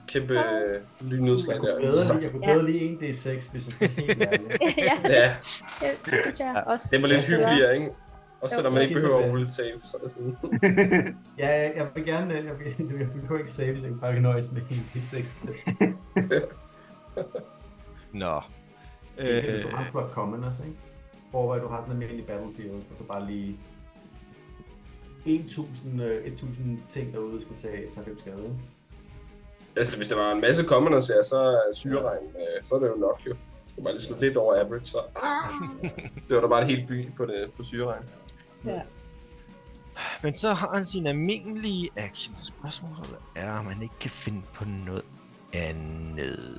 S5: Kæmpe øh, lynnedslag
S3: Jeg kunne
S5: der.
S3: bedre lige, jeg kunne
S4: Ja.
S3: bedre lige en d6, hvis jeg skulle helt ærlig.
S4: *laughs* ja,
S5: Ja,
S4: det synes jeg også.
S5: det var lidt hyggeligere, ikke? Og selvom man ikke
S3: Jo.
S5: behøver at rulle et save, så er det sådan...
S3: Ja, jeg- jeg vil gerne, jeg vil, *laughs* du jeg behøver ikke save, så jeg kan bare nøjes med en d6.
S2: Nå.
S3: Det er
S2: Øh,
S3: jo ret flot commoners, ikke? Overvej, du har sådan en almindelig battlefield, og så bare lige 1000, øh, 1000 ting derude skal tage, tage 5 skade. ikke?
S5: Altså, hvis der var en masse commoners her, så er syreregn, øh, så er det jo nok jo. Jeg skal bare lige slå lidt over average, så... Ah! Det var da bare et helt by på, det, på syreregn.
S4: Ja.
S2: Men så har han sin almindelige action. Spørgsmålet er, om han ikke kan finde på noget andet.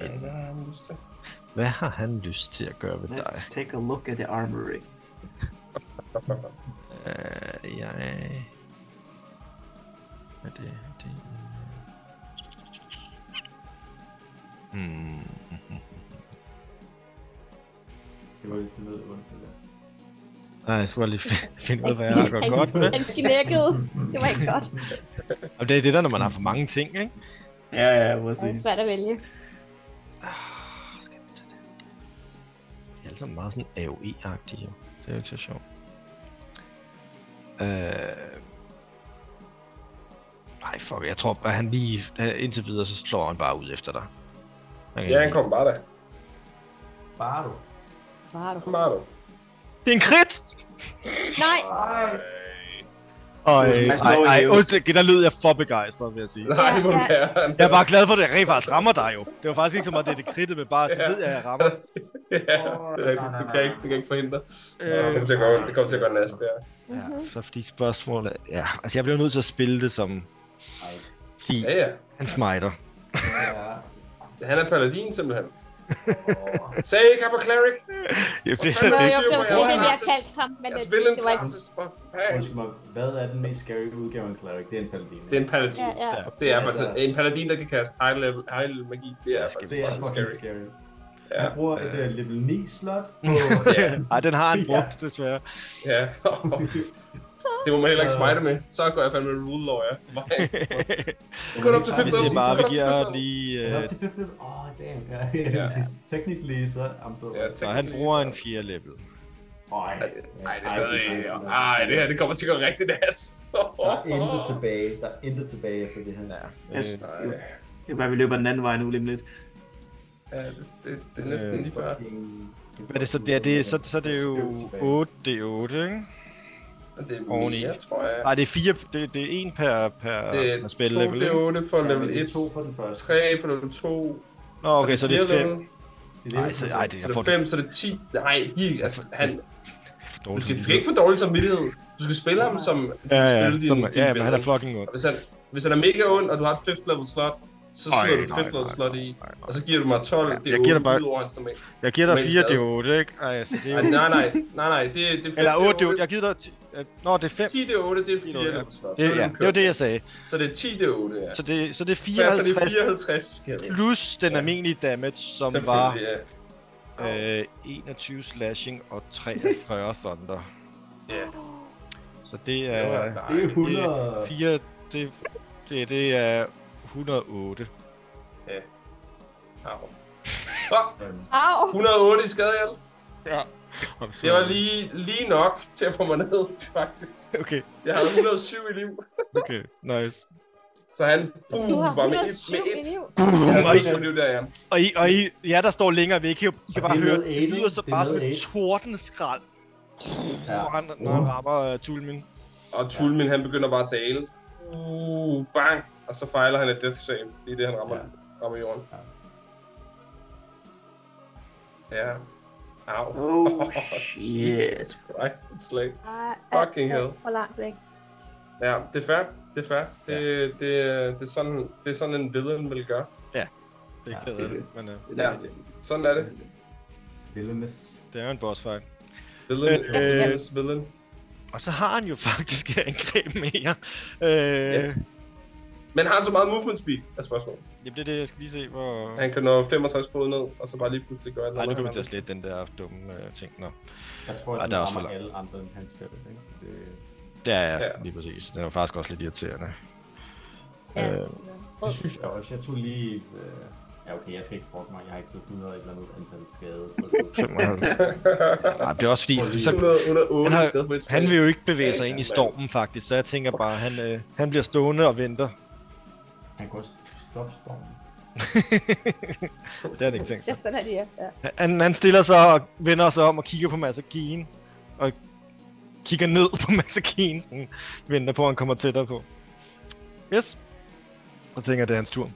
S5: Ja, hvad har han lyst til?
S2: Hvad har han lyst til at gøre ved dig?
S6: Let's take a look at the armory.
S2: Øh, jeg... Er det... det... Hmm.
S3: Det var lidt noget ondt, det der.
S2: Nej, jeg skulle bare lige *laughs* fi- finde ud af, hvad jeg har gået godt med.
S7: Han knækkede. Det var ikke godt.
S2: Og det er det der, når man har for mange ting, ikke?
S6: Ja, ja,
S7: Det var
S6: præcis.
S7: svært at vælge.
S2: Ah, skal vi tage den? De er alle sammen meget sådan AOE-agtige, jo. Det er jo ikke så sjovt. Øh... Nej, fuck, jeg tror bare, han lige... øh, Indtil videre, så slår han bare ud efter dig. Okay.
S5: Ja, han kom bare da.
S3: Bare du.
S7: Bare du.
S5: Kom bare du.
S2: Det er en krit!
S7: Nej,
S2: Ej,
S6: smash
S2: ej,
S6: no
S2: ej,
S6: hit.
S2: undskyld, der lød jeg for begejstret, vil jeg sige.
S5: Nej, hvor
S7: ja.
S5: er han.
S2: Jeg er bare glad for, at det rent faktisk rammer dig jo. Det var faktisk ikke så meget, det er det kridtet med bare, så
S5: Ja.
S2: ved jeg, at jeg rammer.
S5: Ja, det er rigtigt. Du kan ikke, du kan ikke forhindre. Det kommer til at gå, det kommer til at gå næste, ja.
S4: Mhm.
S2: Ja, så fordi spørgsmålet... Ja, altså jeg bliver nødt til at spille det som... Fordi
S5: Ja, ja.
S2: han smiter.
S3: Ja.
S5: Han er paladin, simpelthen. Sagde jeg ikke, han var cleric?
S2: Ja, det,
S5: Nå,
S7: Nå,
S5: det
S7: jo, det
S5: styrer på
S7: var
S5: jeres
S7: det, jeg
S5: classes.
S7: kaldte ham, men
S5: Jeg
S7: det,
S5: spillede en
S7: det var ikke...
S5: classes, for fanden.
S3: Undskyld mig, hvad er den mest scary udgave af en cleric? Det er en paladin.
S5: Det er en paladin.
S7: Ja, ja.
S5: Det er
S3: Ja,
S5: faktisk
S3: altså-
S5: en paladin, der kan kaste high level, high level magi. Det er
S2: Det skal
S5: faktisk
S3: Det er
S5: fucking
S3: fucking
S5: scary.
S3: scary.
S5: Ja,
S3: Han bruger et øh, level 9 slot på...
S5: *laughs* Ja.
S2: Ej, den har han brugt, desværre.
S5: ja. *laughs* Det må man heller ikke smite med. Så går jeg fandme rule *laughs* lawyer. *laughs* Gå op til
S2: Vi
S5: 15.
S2: siger bare, vi giver ham
S3: Han
S2: lige...
S3: er
S2: Øh,
S3: op til 15. Åh, damn. Ja, ja. *laughs* Technically, så er I'm so...
S5: Ja,
S2: så han bruger en fjerde level.
S3: Ej,
S5: Nej, det er stadig... Ej, det her, det kommer til at gå rigtigt ass.
S3: Der er intet tilbage. Der er intet tilbage efter det her.
S2: Ja.
S6: Jeg,
S2: Øh,
S6: det er bare, vi løber den anden vej nu lige om *laughs* lidt.
S5: Ja, det, det, det er
S2: Øh,
S5: næsten lige før.
S2: Hvad er det så? Det er, det, er- så, så er det jo 8, det er 8, ikke?
S5: Det er
S2: Oveni.
S5: mere, tror jeg.
S2: Nej, det er 4, det, det er 1 per, per,
S5: Det er
S2: per
S5: 2
S2: spil level, ikke?
S5: D8 for level 1,
S3: 2 for den første.
S5: 3 for level 2,
S2: Nå, okay, så det er 5.
S3: Det
S2: Nej, så, ej, det,
S5: så
S2: jeg
S5: er
S2: får
S5: det
S2: det
S5: 5, så er det 10. Nej, I, altså, han,
S2: for
S5: du,
S2: dårligt.
S5: skal, du skal ikke få dårlig samvittighed. Du skal spille ham som... du
S2: Ja,
S5: skal
S2: ja,
S5: spille din-
S2: som,
S5: din
S2: ja, men han er
S5: ven.
S2: fucking ond.
S5: Og Hvis han, hvis han er mega ond, og du har et 5th level slot, så smider du et 5th level slot i. Og så giver du mig 12, det er
S2: jeg giver dig
S5: 8
S2: bare-
S5: ud over hans normalt.
S2: Jeg giver dig
S5: Men
S2: 4, det
S5: stadig.
S2: er 8, ikke? Ej, så det er
S5: Nej,
S2: jo...
S5: nej, nej, nej, nej, det, det er 5,
S2: Eller 8, det er 8. Jeg giver dig... ti- øh, Nå, det er 5.
S5: 10 det er 8, det er 4
S2: Ja.
S5: level slot.
S2: Det, ja, det var det, jeg sagde.
S5: Så det er 10 det er 8, ja.
S2: Så det, så det er
S5: Så er det
S2: 54
S5: 54 skal det.
S2: plus den
S5: Ja.
S2: almindelige damage, som var
S5: Selvfølgelig, ja.
S2: øh, 21 slashing og 43 thunder.
S5: Ja.
S2: Så det
S5: Det var altså-
S2: er
S3: Det er
S5: dejligt.
S3: 100...
S2: 4, det, det, det er 108.
S5: Au. Åh,
S7: Au!
S5: 108 i skade, Jarl.
S2: Om så-
S5: Det var lige, lige nok til at få mig ned, faktisk.
S2: Okay,
S5: Jeg havde 107 i liv.
S2: okay, nice.
S5: Så han
S7: Du har
S5: uh, var med et,
S7: 107
S5: med
S7: i
S5: et.
S7: liv.
S5: Jeg havde
S2: Og I,
S5: 107 i liv der, ja.
S2: og I, og I, ja, der står længere væk, I kan, I kan
S3: Og
S2: bare
S3: det er
S2: høre,
S3: med
S2: det lyder
S3: aiding,
S2: så
S3: det er
S2: bare
S3: med
S2: som en
S3: aiding.
S2: tordenskrald,
S3: Ja.
S2: når han, når han rammer uh, Tulmin.
S5: Og Tulmin, han begynder bare at dale. Uh, bang! Og så fejler han et death save, lige det han rammer,
S3: Ja.
S5: rammer jorden.
S3: Ja.
S5: Ja. Au.
S6: Oh, shit.
S5: Jesus Christ, et slag.
S4: Ah,
S5: Fucking
S4: alt,
S5: hell.
S4: alt For langt væk.
S5: Ja, det er fair. Det er fair. Det, det, det, er sådan, det er sådan en villain vil gøre.
S2: Det er
S3: Ja,
S2: ked
S6: det
S2: af
S6: er
S2: det, men uh,
S5: Ja. Sådan er det.
S3: Villainous.
S2: det er jo en boss fight.
S5: Villain,
S2: Øh,
S5: øh,
S2: øh.
S5: villain.
S2: Og så har han jo *laughs* faktisk et angreb mere. Øh,
S5: Ja. Men har han så meget movement speed, er spørgsmålet.
S2: Jamen det er det, jeg skal lige se, hvor...
S5: Han kan nå 65 fod ned, og så bare lige pludselig gøre et
S2: Nej, nu
S5: eller
S2: kommer jeg
S5: andet.
S2: til
S5: *laughs*
S2: at slette den der dumme øh, ting. Nå.
S3: Jeg tror,
S2: Ej,
S3: at
S2: der
S3: den
S2: er også for
S3: rammer
S2: langt.
S3: alle andre end hans spil, ikke? Så det...
S2: Ja, ja,
S5: Ja.
S2: ja, lige præcis. Den var faktisk også lidt irriterende.
S4: Ja.
S2: Øh.
S4: Rød.
S3: Det synes jeg også. Jeg tog lige... Øh... Ja, okay, jeg skal ikke brokke mig. Jeg har ikke taget 100 et eller andet antal skade.
S2: Nej, det er også fordi, så,
S5: 100, 108
S2: Han har-
S5: skade på et slag.
S2: han vil jo ikke bevæge sig
S5: Satan,
S2: ind i
S5: mand.
S2: stormen faktisk, så jeg tænker bare, han, øh, han bliver stående og venter. *laughs*
S3: Han kan også stoppe stormen.
S2: det har han ikke tænkt
S7: Ja,
S2: sig.
S7: sådan er det, ja. ja.
S2: Han, han stiller sig og vender sig om og kigger på Masakien. Og kigger ned på *laughs* Masakien, sådan venter på, at han kommer tættere på. Yes. Og tænker, det er hans tur.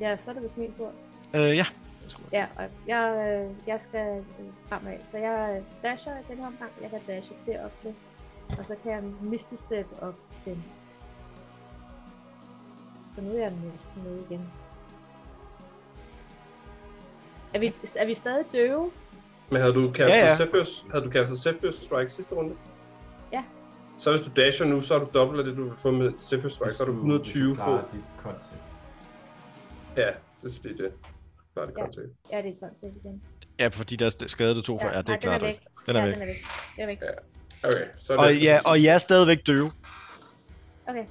S7: Ja, så er det vist min tur.
S2: Øh, ja. Jeg skal
S4: Ja, og jeg, øh, jeg skal øh, fremad, så jeg øh, dasher i den her omgang. Jeg kan dashe derop til, og så kan jeg misty step op igen. Så nu er jeg næsten nede igen. Er vi, er vi stadig døve?
S5: Men havde du kastet
S2: Ja,
S5: ja,
S2: ja.
S5: ja. Zephyrus, havde du kastet Zephyrus Strike sidste runde?
S4: Ja.
S5: Så hvis du dasher nu, så er du dobbelt af det, du vil få med Zephyrus Strike, så er du 120 få.
S3: Det dit koncept.
S5: Ja, det er det. Klar, det
S4: Ja.
S5: kommer til.
S4: Ja, det er godt til igen.
S2: Ja, fordi der er skadet to for. Ja, det
S4: nej,
S2: er klart.
S4: Den er væk.
S2: Den er
S4: ja,
S2: væk.
S4: Den er væk. Den er væk.
S5: Okay, så er det.
S2: Og, ja, og jeg er stadigvæk døve.
S4: Okay.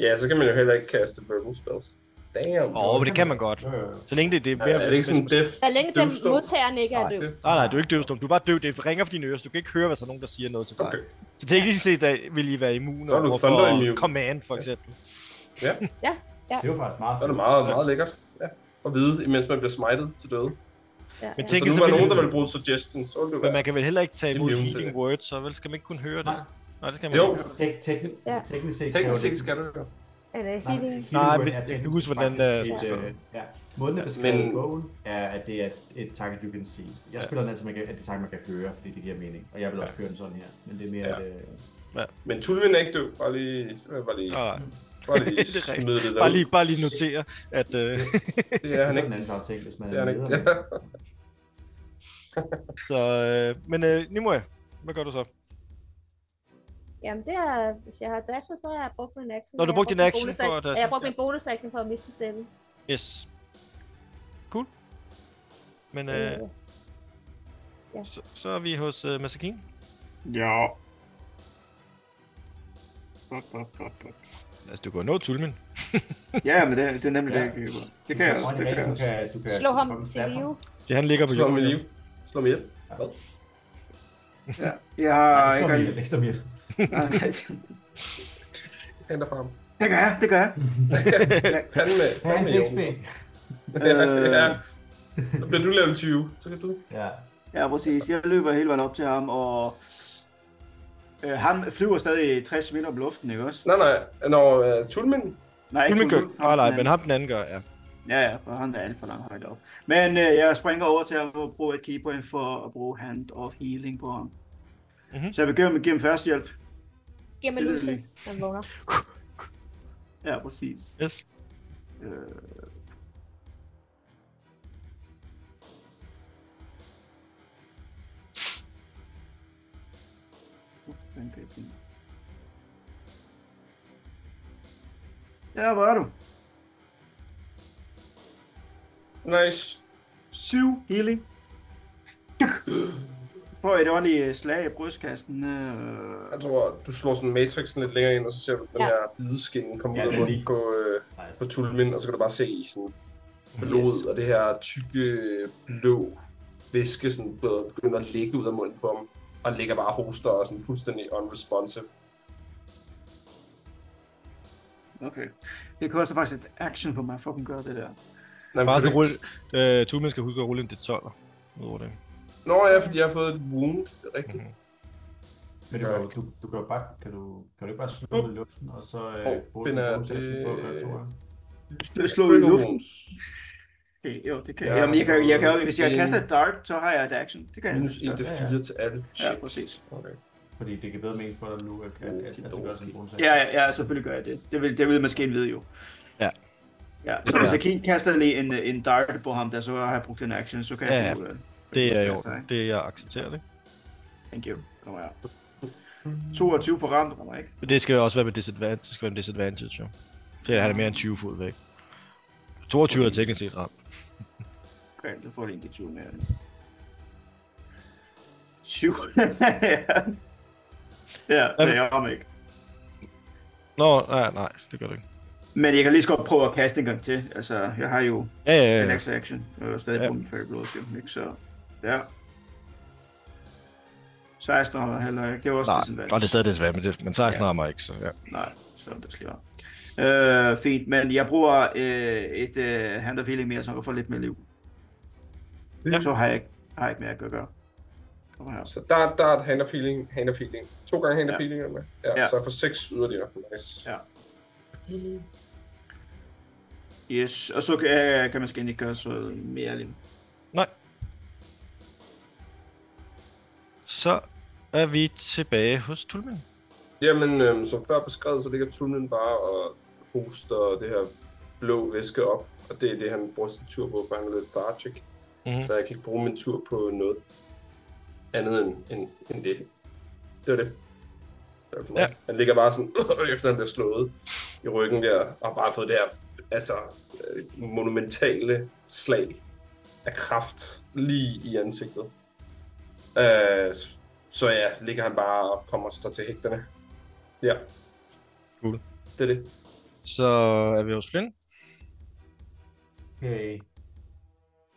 S5: ja, så kan man jo heller ikke kaste verbal spells. Damn.
S2: Åh, oh, men det kan man godt.
S3: Jo, jo, jo.
S2: Så længe det, det er
S5: Ja, er det ikke sådan en def?
S4: Så længe den
S5: døvstum?
S4: modtageren ikke er
S2: Nej,
S4: død.
S2: Nej, nej, du er ikke døvstum. Du er bare døv. Det ringer for dine ører, så du kan ikke høre, hvis der er nogen, der siger noget til dig.
S5: Okay.
S2: Så teknisk set er- vil I være immune
S5: Så er du
S2: over
S5: thunderimmune.
S2: for command, for eksempel.
S3: Det er jo faktisk meget
S5: Så er det meget, meget lækkert. Ja. At vide, imens man bliver smited til døde.
S4: Ja,
S2: Men
S4: ja.
S5: Så
S2: tænk,
S5: nu
S2: så
S5: var
S2: vil
S5: nogen,
S2: det-
S5: der ville bruge suggestion, så ville det
S2: Men
S5: være.
S2: man kan vel heller ikke tage imod
S5: Immune til
S2: healing
S5: det.
S2: words, så vel skal man ikke kunne høre det?
S3: Nej.
S2: Nej, det skal man
S5: Jo,
S2: ikke.
S3: Tek- tekni-
S4: Ja.
S3: Teknisk set,
S5: Teknisk
S3: kan jo
S5: set
S3: det-
S5: skal du jo.
S4: Er det
S3: Nej,
S4: healing?
S2: Nej,
S3: Hero
S2: men
S3: er
S2: jeg kan
S3: teknisk
S2: huske, hvordan,
S3: faktisk
S2: øh,
S3: et, øh, ja. Måden at beskrive
S5: men-
S3: men... bogen er, at det er et target, you can see. Jeg spiller den altså, man kan, at det sagt, man kan høre, fordi det giver mening. Og jeg vil også køre den sådan her. Men det er mere,
S5: Ja.
S3: at, øh,
S5: Men Tulvin er ikke død. Bare lige, bare lige,
S2: *laughs* Nej, nej.
S5: bare lige
S2: Det er rigtigt.
S5: smide det der.
S2: Bare lige, bare lige notere, at... Øh,
S5: Det er han
S3: sådan
S5: ikke.
S3: en anden slags ting, hvis man
S5: Det er han ikke.
S3: leder.
S2: *laughs* så, øh, men øh, Nimue, hvad gør du så?
S4: Jamen det er, hvis jeg har dasher, så har jeg brugt min action.
S2: Nå, du
S4: Jeg har
S2: brugte din
S4: min
S2: action
S4: bonus-
S2: for at dashe,
S4: Jeg har brugt
S2: ja.
S4: min bonus action for at miste stemme.
S2: Yes. Cool. Men øh,
S4: Øh,
S2: så, så er vi hos øh, Masakin.
S6: Ja. Fuck, fuck, fuck, fuck.
S2: Altså, du kan nå Tulmin.
S6: Ja, men det, det er nemlig
S3: Ja.
S6: det, jeg kan Det kan jeg også, det kan jeg
S3: Du
S6: også.
S3: kan, du kan,
S4: Slå
S3: du
S4: ham
S3: kan komme
S4: til
S3: stab
S4: live.
S2: Det han ligger på
S5: Slå mig
S2: jorden.
S5: liv. Slå mig ihjel. Hvad?
S6: Ja. Jeg
S3: Nej,
S6: har
S3: ikke
S6: ikke
S3: mere.
S6: rigtig...
S3: Ikke så mere.
S6: Nej,
S5: Henter fra ham.
S6: Det gør jeg, det
S2: *laughs*
S6: gør jeg.
S5: Fanden med,
S3: Ja,
S5: fanden
S3: en
S5: med
S3: XP.
S5: jorden. ja.
S6: Øh,
S5: Så bliver du level 20. Så kan du.
S3: Ja.
S6: Ja, præcis. Jeg løber hele vejen op til ham, og... Øh, ham flyver stadig 60 meter om luften, ikke også?
S5: Nej, nej. Når uh, Tulmin...
S6: Nej,
S2: Tulmin gør.
S6: Tulsen.
S2: Nej, nej,
S6: Ham,
S2: men
S6: den
S2: ham den anden gør, ja.
S6: anden. Ja, ja, for han er alt for langt højt op. Men øh, jeg springer over til at bruge et keypoint for at bruge hand of healing på ham.
S2: Mhm.
S6: Mm-hmm. Så jeg begynder med at give ham førstehjælp.
S4: Giv mig
S6: Det er
S4: lyset,
S6: det.
S4: han vågner.
S6: Ja, præcis.
S2: Yes.
S6: Øh, Den kan jeg finde. Ja, hvor er du?
S5: Nice.
S6: 7 healing. På et ordentligt øh, slag i brystkassen. Øh,
S5: Jeg tror, du slår sådan matrixen lidt længere ind, og så ser du den
S4: Ja.
S5: her bideskin komme
S3: Ja,
S5: ud af
S3: det er
S5: munden
S3: lige-
S5: på, øh, på Tulmin, og så kan du bare se sådan blod
S6: Yes.
S5: og det her tykke blå væske sådan bedre begynder at ligge ud af munden på ham. Og han ligger bare og hoster og er sådan fuldstændig unresponsive.
S6: okay. Det koster faktisk et action for mig for at kunne gøre det der.
S5: Nej, men
S2: Bare
S5: kan
S2: så
S5: du
S2: rulle...
S5: ikke-
S2: Øh, Tulmin skal huske at rulle en D12. Udover det.
S5: Nå ja, fordi jeg har fået et wound, det er rigtigt.
S3: Men du, kan jo- du, du kan jo bare, kan du, kan du ikke bare slå med luften, og så
S5: Hov,
S3: øh, bruge
S5: den
S3: din
S5: er-
S3: bonus action på at gøre
S5: det-
S3: to gange?
S6: Sl- Slå i
S5: Critical
S6: luften.
S5: wounds.
S6: Okay, jo, det kan
S5: Ja,
S6: jeg. Jamen, jeg kan, jeg kan,
S5: så-
S6: hvis jeg
S5: en-
S6: kaster et dart, så har jeg et action. Det kan jeg.
S5: Minus 1 til
S3: Ja, ja.
S5: 4 til alle.
S6: Ja,
S5: Shit.
S6: præcis.
S5: Okay.
S3: Fordi det kan bedre mening for dig nu, at, at, at, at, at gøre sådan en bonus action.
S6: Ja, ja, ja, selvfølgelig gør jeg det. Det vil, det vil maskinen vide jo.
S2: Ja.
S6: Ja, så hvis jeg kan kaster lige en, en dart på ham, der så har jeg brugt en action, så kan
S2: Ja,
S6: jeg...
S2: ja.
S6: bruge, øh,
S2: Det er jo,
S6: brystkassen, ikke?
S2: det er jeg accepterer det.
S6: Thank you. Kommer jeg. 22 for ramt, rammer ikke?
S2: Men det skal jo også være med disadvantage. Det skal være med disadvantage, jo. Det er, han er mere end 20 fod væk. 22 er teknisk set ramt.
S6: Okay, så får det en D20 mere. *laughs* 7. ja, det er om ikke.
S2: Nå, nej, nej, det gør det ikke.
S6: Men jeg kan lige så godt prøve at kaste en gang til. Altså, jeg har jo
S2: Ja, ja,
S6: en
S2: ja.
S6: extra action, Øh, og jeg er stadig
S2: Øh. Ja.
S6: ja. på min færre blods, jo, ikke? Så, ja. 16 rammer heller ikke. Det var også
S2: Nej,
S6: disadvantage.
S2: og det er stadig desværre, men, det, men 16
S6: Ja.
S2: rammer ikke, så ja.
S6: Nej, så er det slipper. Øh, fint, men jeg bruger øh, et øh, hand of healing mere, så jeg kan få lidt mere liv.
S5: Ja.
S2: Mm.
S6: Ja. Så har jeg, ikke- har jeg ikke mere at gøre. Kom her.
S5: Så der, der er et hand of healing, hand of healing. To gange hand of
S6: Ja.
S5: healing, eller hvad? Ja,
S6: Ja.
S5: så jeg får seks yderligere. Nice.
S6: Ja. Yes, og så kan, kan man skal ikke gøre så mere lige.
S2: Mm. Nej. Så er vi tilbage hos Tulmen.
S5: Jamen, øhm, som før beskrevet, så ligger Tulmen bare og hoster det her blå væske op. Og det er det, han bruger sin tur på, for han er lidt lethargic.
S2: Mhm.
S5: Mm-hmm. Så jeg kan ikke bruge min tur på noget andet end, end, end det. Det var det. det var for mig.
S2: Ja.
S5: Han ligger bare sådan, *clears throat* efter han bliver slået i ryggen der, og har bare fået det her altså, øh, monumentale slag af kraft lige i ansigtet. Øh, så ja, ligger han bare og kommer sig til hægterne. Ja.
S2: Cool.
S5: Det er det.
S2: Så er vi hos Flynn.
S3: Okay.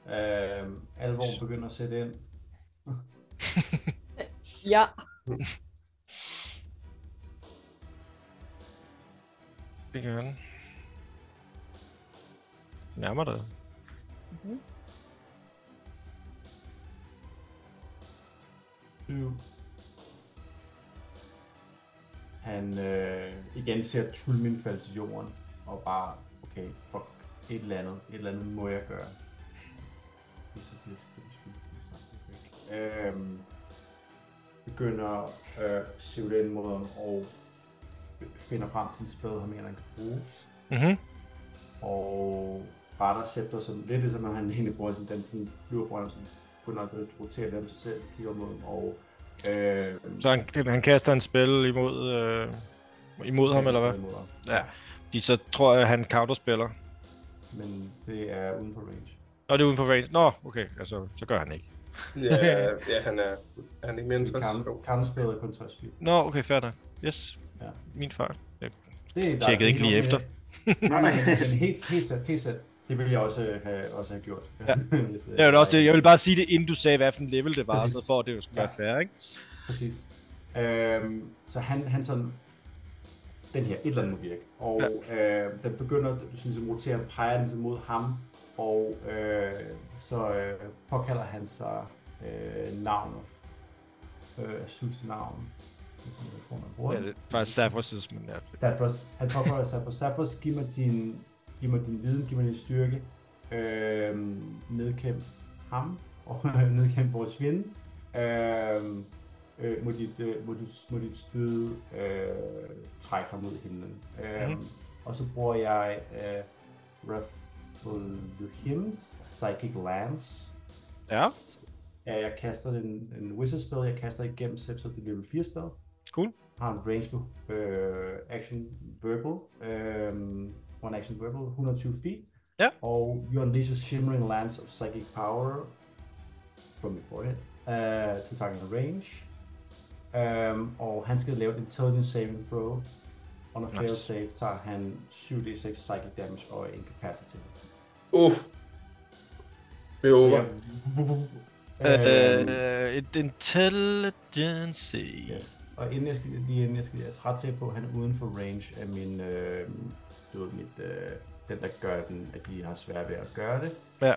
S3: Øhm, alvoren begynder at sætte ind.
S7: Ja.
S2: Det gør han. Nærmer dig.
S7: Mhm.
S3: 20. Han øh, igen ser Tulmin falde til jorden, og bare, okay, fuck, et eller andet, et eller andet må jeg gøre. Det er så det, det er sgu- det er så væk. Øhm, begynder øh, Sivlen mod og finder frem til en spade, han mener, han kan bruge
S2: Mhm.
S3: og retter scepter sådan lidt, ligesom når han egentlig bruger sådan den sådan flyverbrønd, som kun at rotere dem sig selv, kigger mod dem, og øh,
S2: Så han, han kaster en spil imod, øh, imod ham, eller hvad?
S3: Mod ham.
S2: Ja. De, så tror jeg, han counterspiller.
S3: Men det er uden for range.
S2: Nå, det er uden for range. Nå, okay, altså, så gør han ikke.
S3: *laughs*
S5: Ja, ja han er, er han ikke mere end 60 Jo.
S3: Kampspillet er kun 60 feet.
S2: Nå, okay, fair nok. Yes,
S3: Ja.
S2: min far. Ja.
S3: Det er, der
S2: Tjekkede
S3: er
S2: ikke
S3: helt
S2: lige
S3: okay.
S2: efter.
S3: nej, nej, men men helt, helt sæt, helt sæt. Det ville jeg også øh, have, også have gjort.
S2: Ja.
S3: *laughs* Hvis, øh,
S2: Jeg vil, også, jeg vil bare sige det, inden du sagde, hvad for en level det var,
S3: Præcis.
S2: så for at det jo skulle være
S3: Ja.
S2: fair, ikke?
S3: Præcis. Øhm, så han, han sådan, den her, et eller andet må virke. Og ja. øh, den begynder, du synes, ligesom roterer, peger den så mod ham, og øh, så øh, påkalder han sig øh, navnet. Øh, Sus navn. Det er sådan, jeg tror, man bruger
S2: Ja,
S3: den.
S2: det er faktisk Savros' men ja.
S3: Sapros, han påfører Sapros. Sapros, giv mig din, giv mig din viden, giv mig din styrke. Øhm, nedkæmp ham, og *laughs* nedkæmp vores fjende. Øhm, øh, må, dit, øh, må, dit, må dit spyd øh, trække ham mod himlen. Øhm,
S2: Mhm.
S3: Og så bruger jeg øh, Rathaluhims Psychic Lance.
S2: ja.
S3: Ja, jeg kaster en, en wizard spell, jeg kaster igennem Scepter, det er level 4 spell.
S2: Cool.
S3: Har en range på øh, action verbal, øh, one action verbal, 120 feet.
S2: Ja.
S3: Og you unleash a shimmering lance of psychic power from your forehead uh, to target range. Um, og han skal lave et intelligence saving throw. Under fail
S2: Nice.
S3: save tager han 7d6 psychic damage og incapacity.
S5: Uff. Det håber.
S3: Ja. Øhm,
S2: Øh, et intelligence. Yes.
S3: Yes. Og inden jeg skal, lige inden jeg skal jeg er træt til på, at han er uden for range af min, øh, du ved, mit, øh, den der gør den, at de har svært ved at gøre det.
S2: Ja.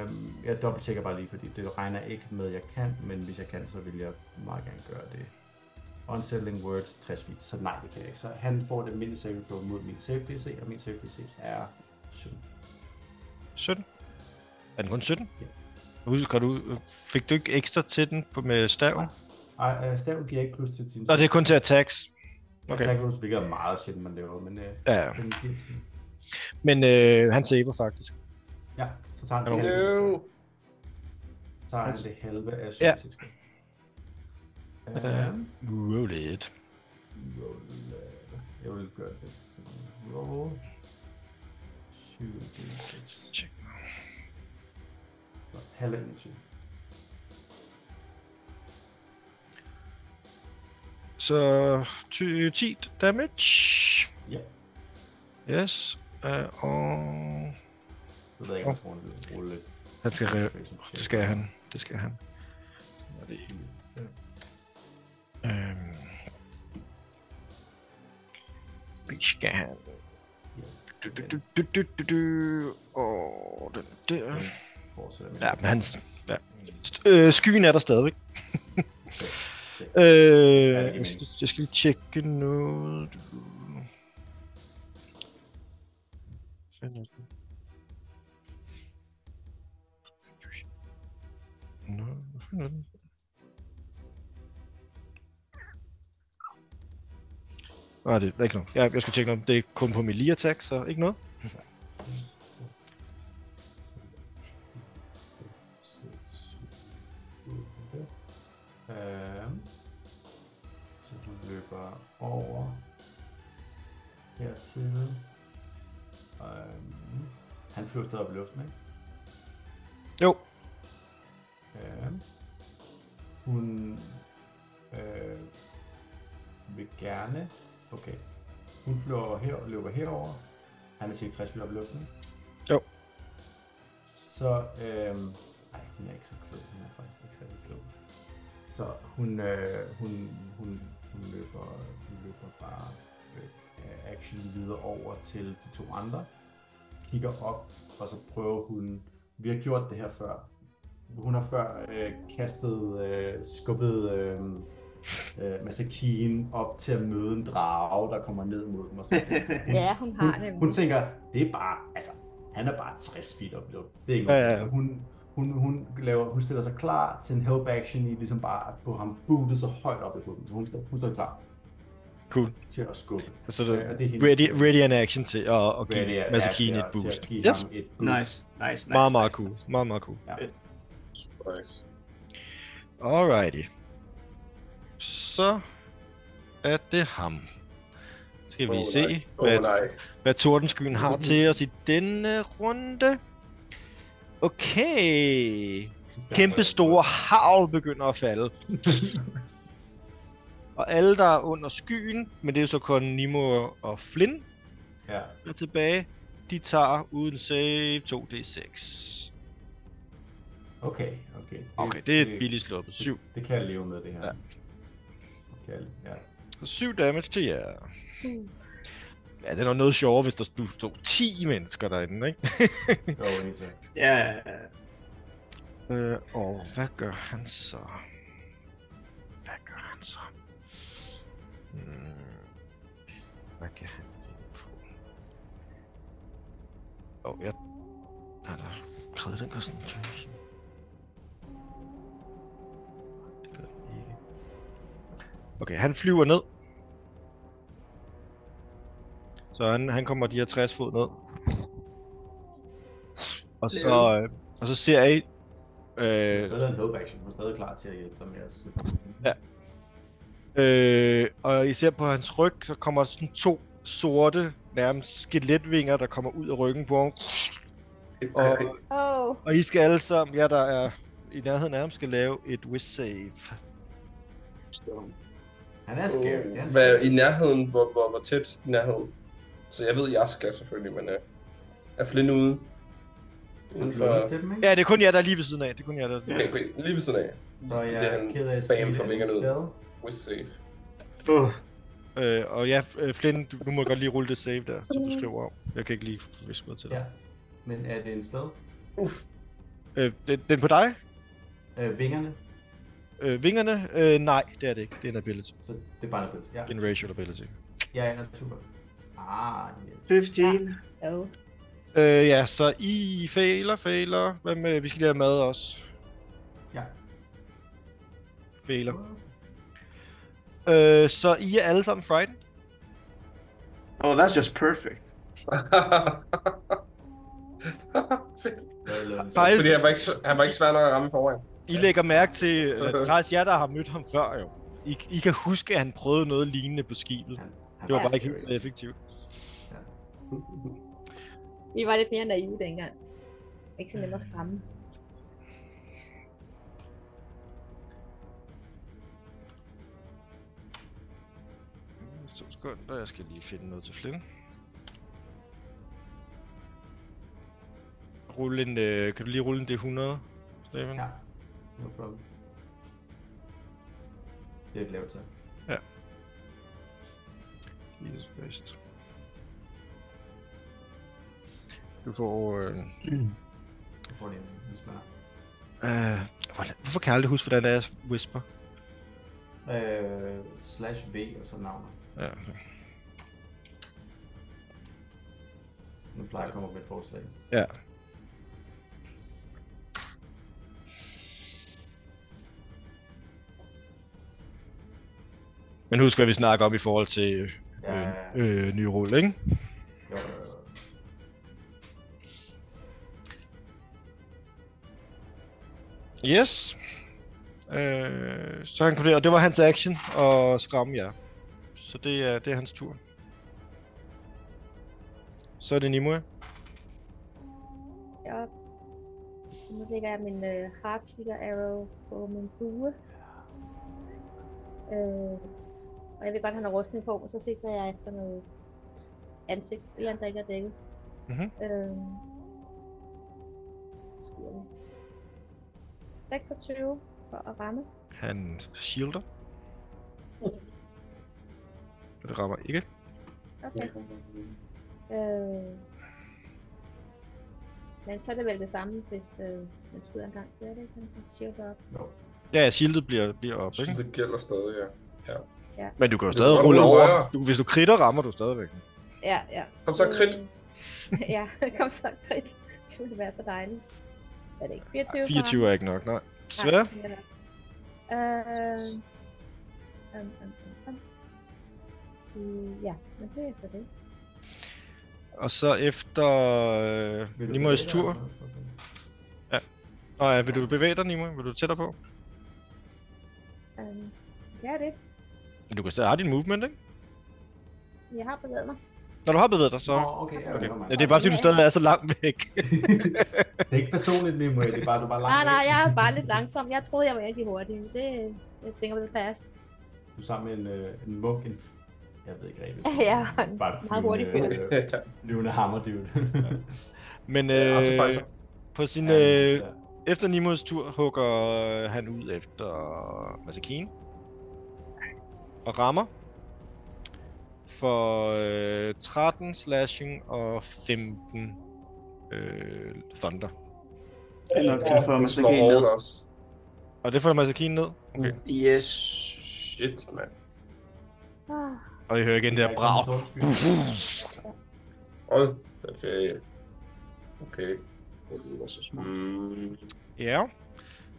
S3: Øhm, jeg dobbelttjekker bare lige, fordi det regner ikke med, at jeg kan, men hvis jeg kan, så vil jeg meget gerne gøre det. Unsettling words 60 feet, så nej, det kan jeg ikke. Så han får det mindste saving throw mod min save DC, og min save DC er 17.
S2: 17. Er den kun 17?
S3: Ja.
S2: Husk, du, fik du ikke ekstra til den på, med staven?
S3: Ej, øh, staven giver ikke plus til sin
S2: Nå, det er kun til attacks.
S3: okay.
S2: okay.
S3: attack rolls, hvilket er meget sjældent, man laver, men øh,
S2: Ja, ja.
S3: den giver til.
S2: men øh, han saver faktisk.
S3: Ja, så tager han
S2: Jo.
S3: det her.
S5: No.
S3: Så har han det halve af
S2: Altså- Ja.
S3: sundhedstilskud.
S2: Ja. Roll it.
S3: Jeg vil gøre det. Roll. 7, 6,
S2: Tjek.
S3: halv 21.
S2: Så ty- 10 damage.
S3: Ja,
S2: Yes. Uh, og
S3: så ved jeg ikke, om jeg tror, han vil rulle lidt.
S2: han skal re- Det skal han. Det skal han. Sådan er det. Øhm. Det skal han.
S3: Yes.
S2: Du, du, du, du, du, du, du. Og den der.
S3: Fortsætter med
S2: Ja, men hans... Ja. Øh, skyen er der stadigvæk.
S3: seks.
S2: Øh,
S3: giver
S2: jeg,
S3: mening.
S2: skal, jeg skal lige tjekke noget. Du- 15. Nej, Ah, det er ikke noget. Jeg, jeg skulle tjekke noget. Det er kun på min lige attack, så ikke noget.
S3: Øhm, så du løber over hertil. Øhm, han flyver stadig op i luften, ikke?
S2: Jo,
S3: Øhm, hun øh, vil gerne... Okay. Hun flyver over her og løber herover. Han er cirka 60 meter op i luften, ikke?
S2: Jo.
S3: Så... Øhm, ej, hun er ikke så klog. Hun er faktisk ikke særlig klog. Så hun, øh, hun, hun, hun, løber, hun løber bare øh, action videre over til de to andre. Kigger op, og så prøver hun... Vi har gjort det her før. Hun har før øh, kastet, øh, skubbet øh, øh, Masakien op til at møde en drage, der kommer ned mod dem og sådan noget.
S4: Ja, hun har
S3: Hun,
S4: det.
S3: hun tænker, det er bare, altså, han er bare 60 feet op i luften. Det er ikke
S2: Ja,
S3: noget.
S2: ja, ja.
S3: problem. Hun, hun, hun, laver, hun stiller sig klar til en help action i ligesom bare at få ham bootet så højt op i bunden. Så hun, står- hun står klar
S2: cool.
S3: til at skubbe.
S2: Så Altså, det,
S3: Ja, og det er hendes-
S2: ready, ready an action til at, at
S3: Hvad det er,
S2: give
S3: er til
S2: Masakine
S3: at-
S2: et boost.
S3: til at give
S2: Yes,
S3: ham et boost.
S6: Nice, nice, nice.
S2: meget, meget
S6: nice,
S2: cool.
S6: nice.
S2: Meget, meget cool.
S5: Nice.
S2: Alrighty. Så er det ham. Skal vi
S5: Åh,
S2: oh, se,
S5: nej. Åh,
S2: hvad,
S5: nej. Mm-hmm.
S2: hvad Tordenskyen har til os i denne runde. Okay. Kæmpe store havl begynder at falde.
S5: *laughs*
S2: og alle, der er under skyen, men det er jo så kun Nimo og Flynn,
S3: Ja.
S2: der er tilbage, de tager uden save 2d6.
S3: Okay, okay. Det,
S2: Okay, det er billigt sluppet. 7.
S3: Det kan jeg leve med, det her.
S2: Ja.
S3: Det Kan jeg, ja.
S2: 7 damage til jer. Ja, det er nok noget sjovere, hvis der stod, stod 10 mennesker derinde, ikke?
S3: Jo, helt sikkert.
S6: Ja, ja, ja.
S2: Øh, og hvad gør han så? Hvad gør han så? Hmm. Hvad kan han finde på? Åh, oh, jeg... Nej, der er krævet, den koster en tusind. Det gør den ikke. Okay, han flyver ned. Så han, han kommer de her 60 fod ned. Og så, øh, og så ser I...
S3: Hun er
S2: Øh,
S3: stadig en help action. Hun er stadig klar til at hjælpe dig med at
S2: Øh, og især på hans ryg, så kommer sådan to sorte, nærmest skeletvinger, der kommer ud af ryggen på ham. Og,
S7: Oh.
S2: og I skal alle sammen, ja, der er i nærheden af ham, skal lave et wish save.
S3: Han er scary. Han er
S5: Hvad
S3: scary.
S5: i nærheden? Hvor, hvor, hvor tæt i nærheden? Så jeg ved, jeg skal selvfølgelig, men øh, er Flynn ude?
S3: Han
S5: Uden for...
S3: flyver til dem, ikke?
S2: Ja, det er kun jer, der er lige ved siden af. Det er kun jer, der er
S5: Okay, okay, lige ved siden af.
S3: Så jeg
S5: Det er
S3: er
S5: han
S3: ked af at
S5: bam
S3: sige det,
S5: for
S3: men
S5: vingerne ud.
S3: stadig.
S5: With save.
S6: Uh,
S2: øh, Og ja, øh, Flynn, du, du må godt lige rulle det save der, som du skriver om. Jeg kan ikke lige viske mig til dig.
S3: Ja. Men er det en spil?
S2: *laughs*
S5: Uff, *laughs*
S2: Øh, den, den på dig?
S3: Øh, vingerne?
S2: Øh, vingerne? Øh, nej, det er det ikke. Det er en ability.
S3: Så det er bare en ability. Ja,
S2: En racial ability.
S3: ja, ja, super. Ah, yes.
S6: 15.
S4: Oh.
S2: Øh, ja, så I fejler, fejler. Hvad med, vi skal lige have mad også.
S3: Ja.
S2: Fejler. Øh, så I er alle sammen frightened.
S6: Oh, that's just perfect.
S5: Fedt.
S3: Hvad er det?
S2: Faktisk,
S5: Fordi han var, ikke, sv- han var ikke svær nok at ramme forvejen.
S2: I lægger mærke *laughs* til, eller det er faktisk jer, der har mødt ham før jo. I, I kan huske, at han prøvede noget lignende på skibet.
S3: Han- han
S2: Det var
S3: er
S2: bare ikke helt
S3: scary.
S2: så effektivt.
S7: Vi var lidt mere naive dengang. Ikke så nemt at skræmme.
S2: To sekunder, jeg skal lige finde noget til Flynn. Rulle en, øh, kan du lige rulle en D100, Stefan?
S3: Ja, no problem. Det er et lavt tal.
S2: Jesus Christ. Du får... Øh,
S3: Jeg får lige en, en smart.
S2: øh, hvordan, hvorfor kan jeg aldrig huske, hvordan det er Whisper?
S3: Øh, slash V og så navnet.
S2: Ja,
S3: Nu plejer jeg at komme op med et forslag.
S2: Ja. Men husk, hvad vi snakker om i forhold til
S3: Ja,
S2: øh, øh, nye rulle, ikke?
S3: jo, jo, jo.
S2: Yes. Øh, så han kom der, og det var hans action og skræmme jer. Så det er, det er hans tur. Så er det Nimue.
S4: Jeg... Nu lægger jeg min øh, Heartseeker Arrow på min bue. Øh, og jeg vil godt have noget rustning på, så sigter jeg efter noget ansigt, eller andet, der ikke er dækket.
S2: Mhm.
S4: Øh, skyder den. 26 for at ramme.
S2: Han shielder. Så Det rammer ikke.
S4: Okay. Øh, men så er det vel det samme, hvis øh, man skyder en gang til, er det ikke? Man shielder op.
S2: Ja, shieldet bliver, bliver op,
S5: Så
S2: ikke?
S5: det gælder stadig, ja.
S2: Men du kan jo
S5: Du kan
S2: stadig
S5: godt
S2: rulle
S5: rulle
S2: over.
S5: højere.
S2: Du, hvis du kritter, rammer du stadigvæk.
S4: Ja, ja.
S5: Kom så, krit.
S4: Øh, *laughs* ja, kom så, krit. Det ville være så dejligt. Er det ikke? 24?
S2: 24 er ikke nok, nej.
S4: Svær?
S2: Svær.
S4: Øh, um, um, um, um. Ja, men det er så det.
S2: Og så efter
S3: Vil
S2: øh,
S3: du
S2: Nimoys
S3: bevæge dig,
S2: tur.
S3: eller sådan?
S2: Nej, vil du bevæge dig, Nimue? Vil du tættere på?
S4: Um, ja, det.
S2: Men du kan stadig have din movement, ikke?
S4: Jeg har bevæget mig.
S2: Når du har bevæget dig, så...
S3: Nå, okay, ja,
S2: Okay.
S3: never mind.
S2: Ja, det er bare fordi, du stadig er så langt væk.
S3: *laughs* det er ikke personligt, Nemo, det er bare, du er bare langt
S4: Nej, nej,
S3: væk.
S4: jeg er bare lidt langsom. Jeg troede, jeg var rigtig hurtig. men Det jeg tænker lidt fast.
S3: Du er sammen med en, øh, en munk, en... f- Jeg ved ikke
S4: *laughs*
S3: rigtigt.
S4: Ja, og en
S3: Bare
S4: meget hurtig
S3: flyvende,
S5: *laughs* Ja,
S3: øh, *laughs* Flyvende
S2: *laughs*
S3: hammer, dude.
S2: Men
S5: ja, og til
S2: øh,
S5: Pfizer.
S2: på sin,
S3: Ja,
S2: øh,
S3: ja.
S2: efter Nimos tur hugger øh, han ud efter Masakine. Og rammer. For øh, 13 slashing og 15 øh, thunder.
S6: Det er nok til for, at man
S5: slår
S6: skal en ned.
S5: hårdt også.
S2: Og det får Masakine ned. Okay.
S6: Yes.
S5: Shit, mand.
S4: Ah,
S2: Og I hører igen det der brag. *laughs*
S5: Hold da ferie. Okay.
S6: Det lyder så smart.
S5: Mm.
S2: Ja.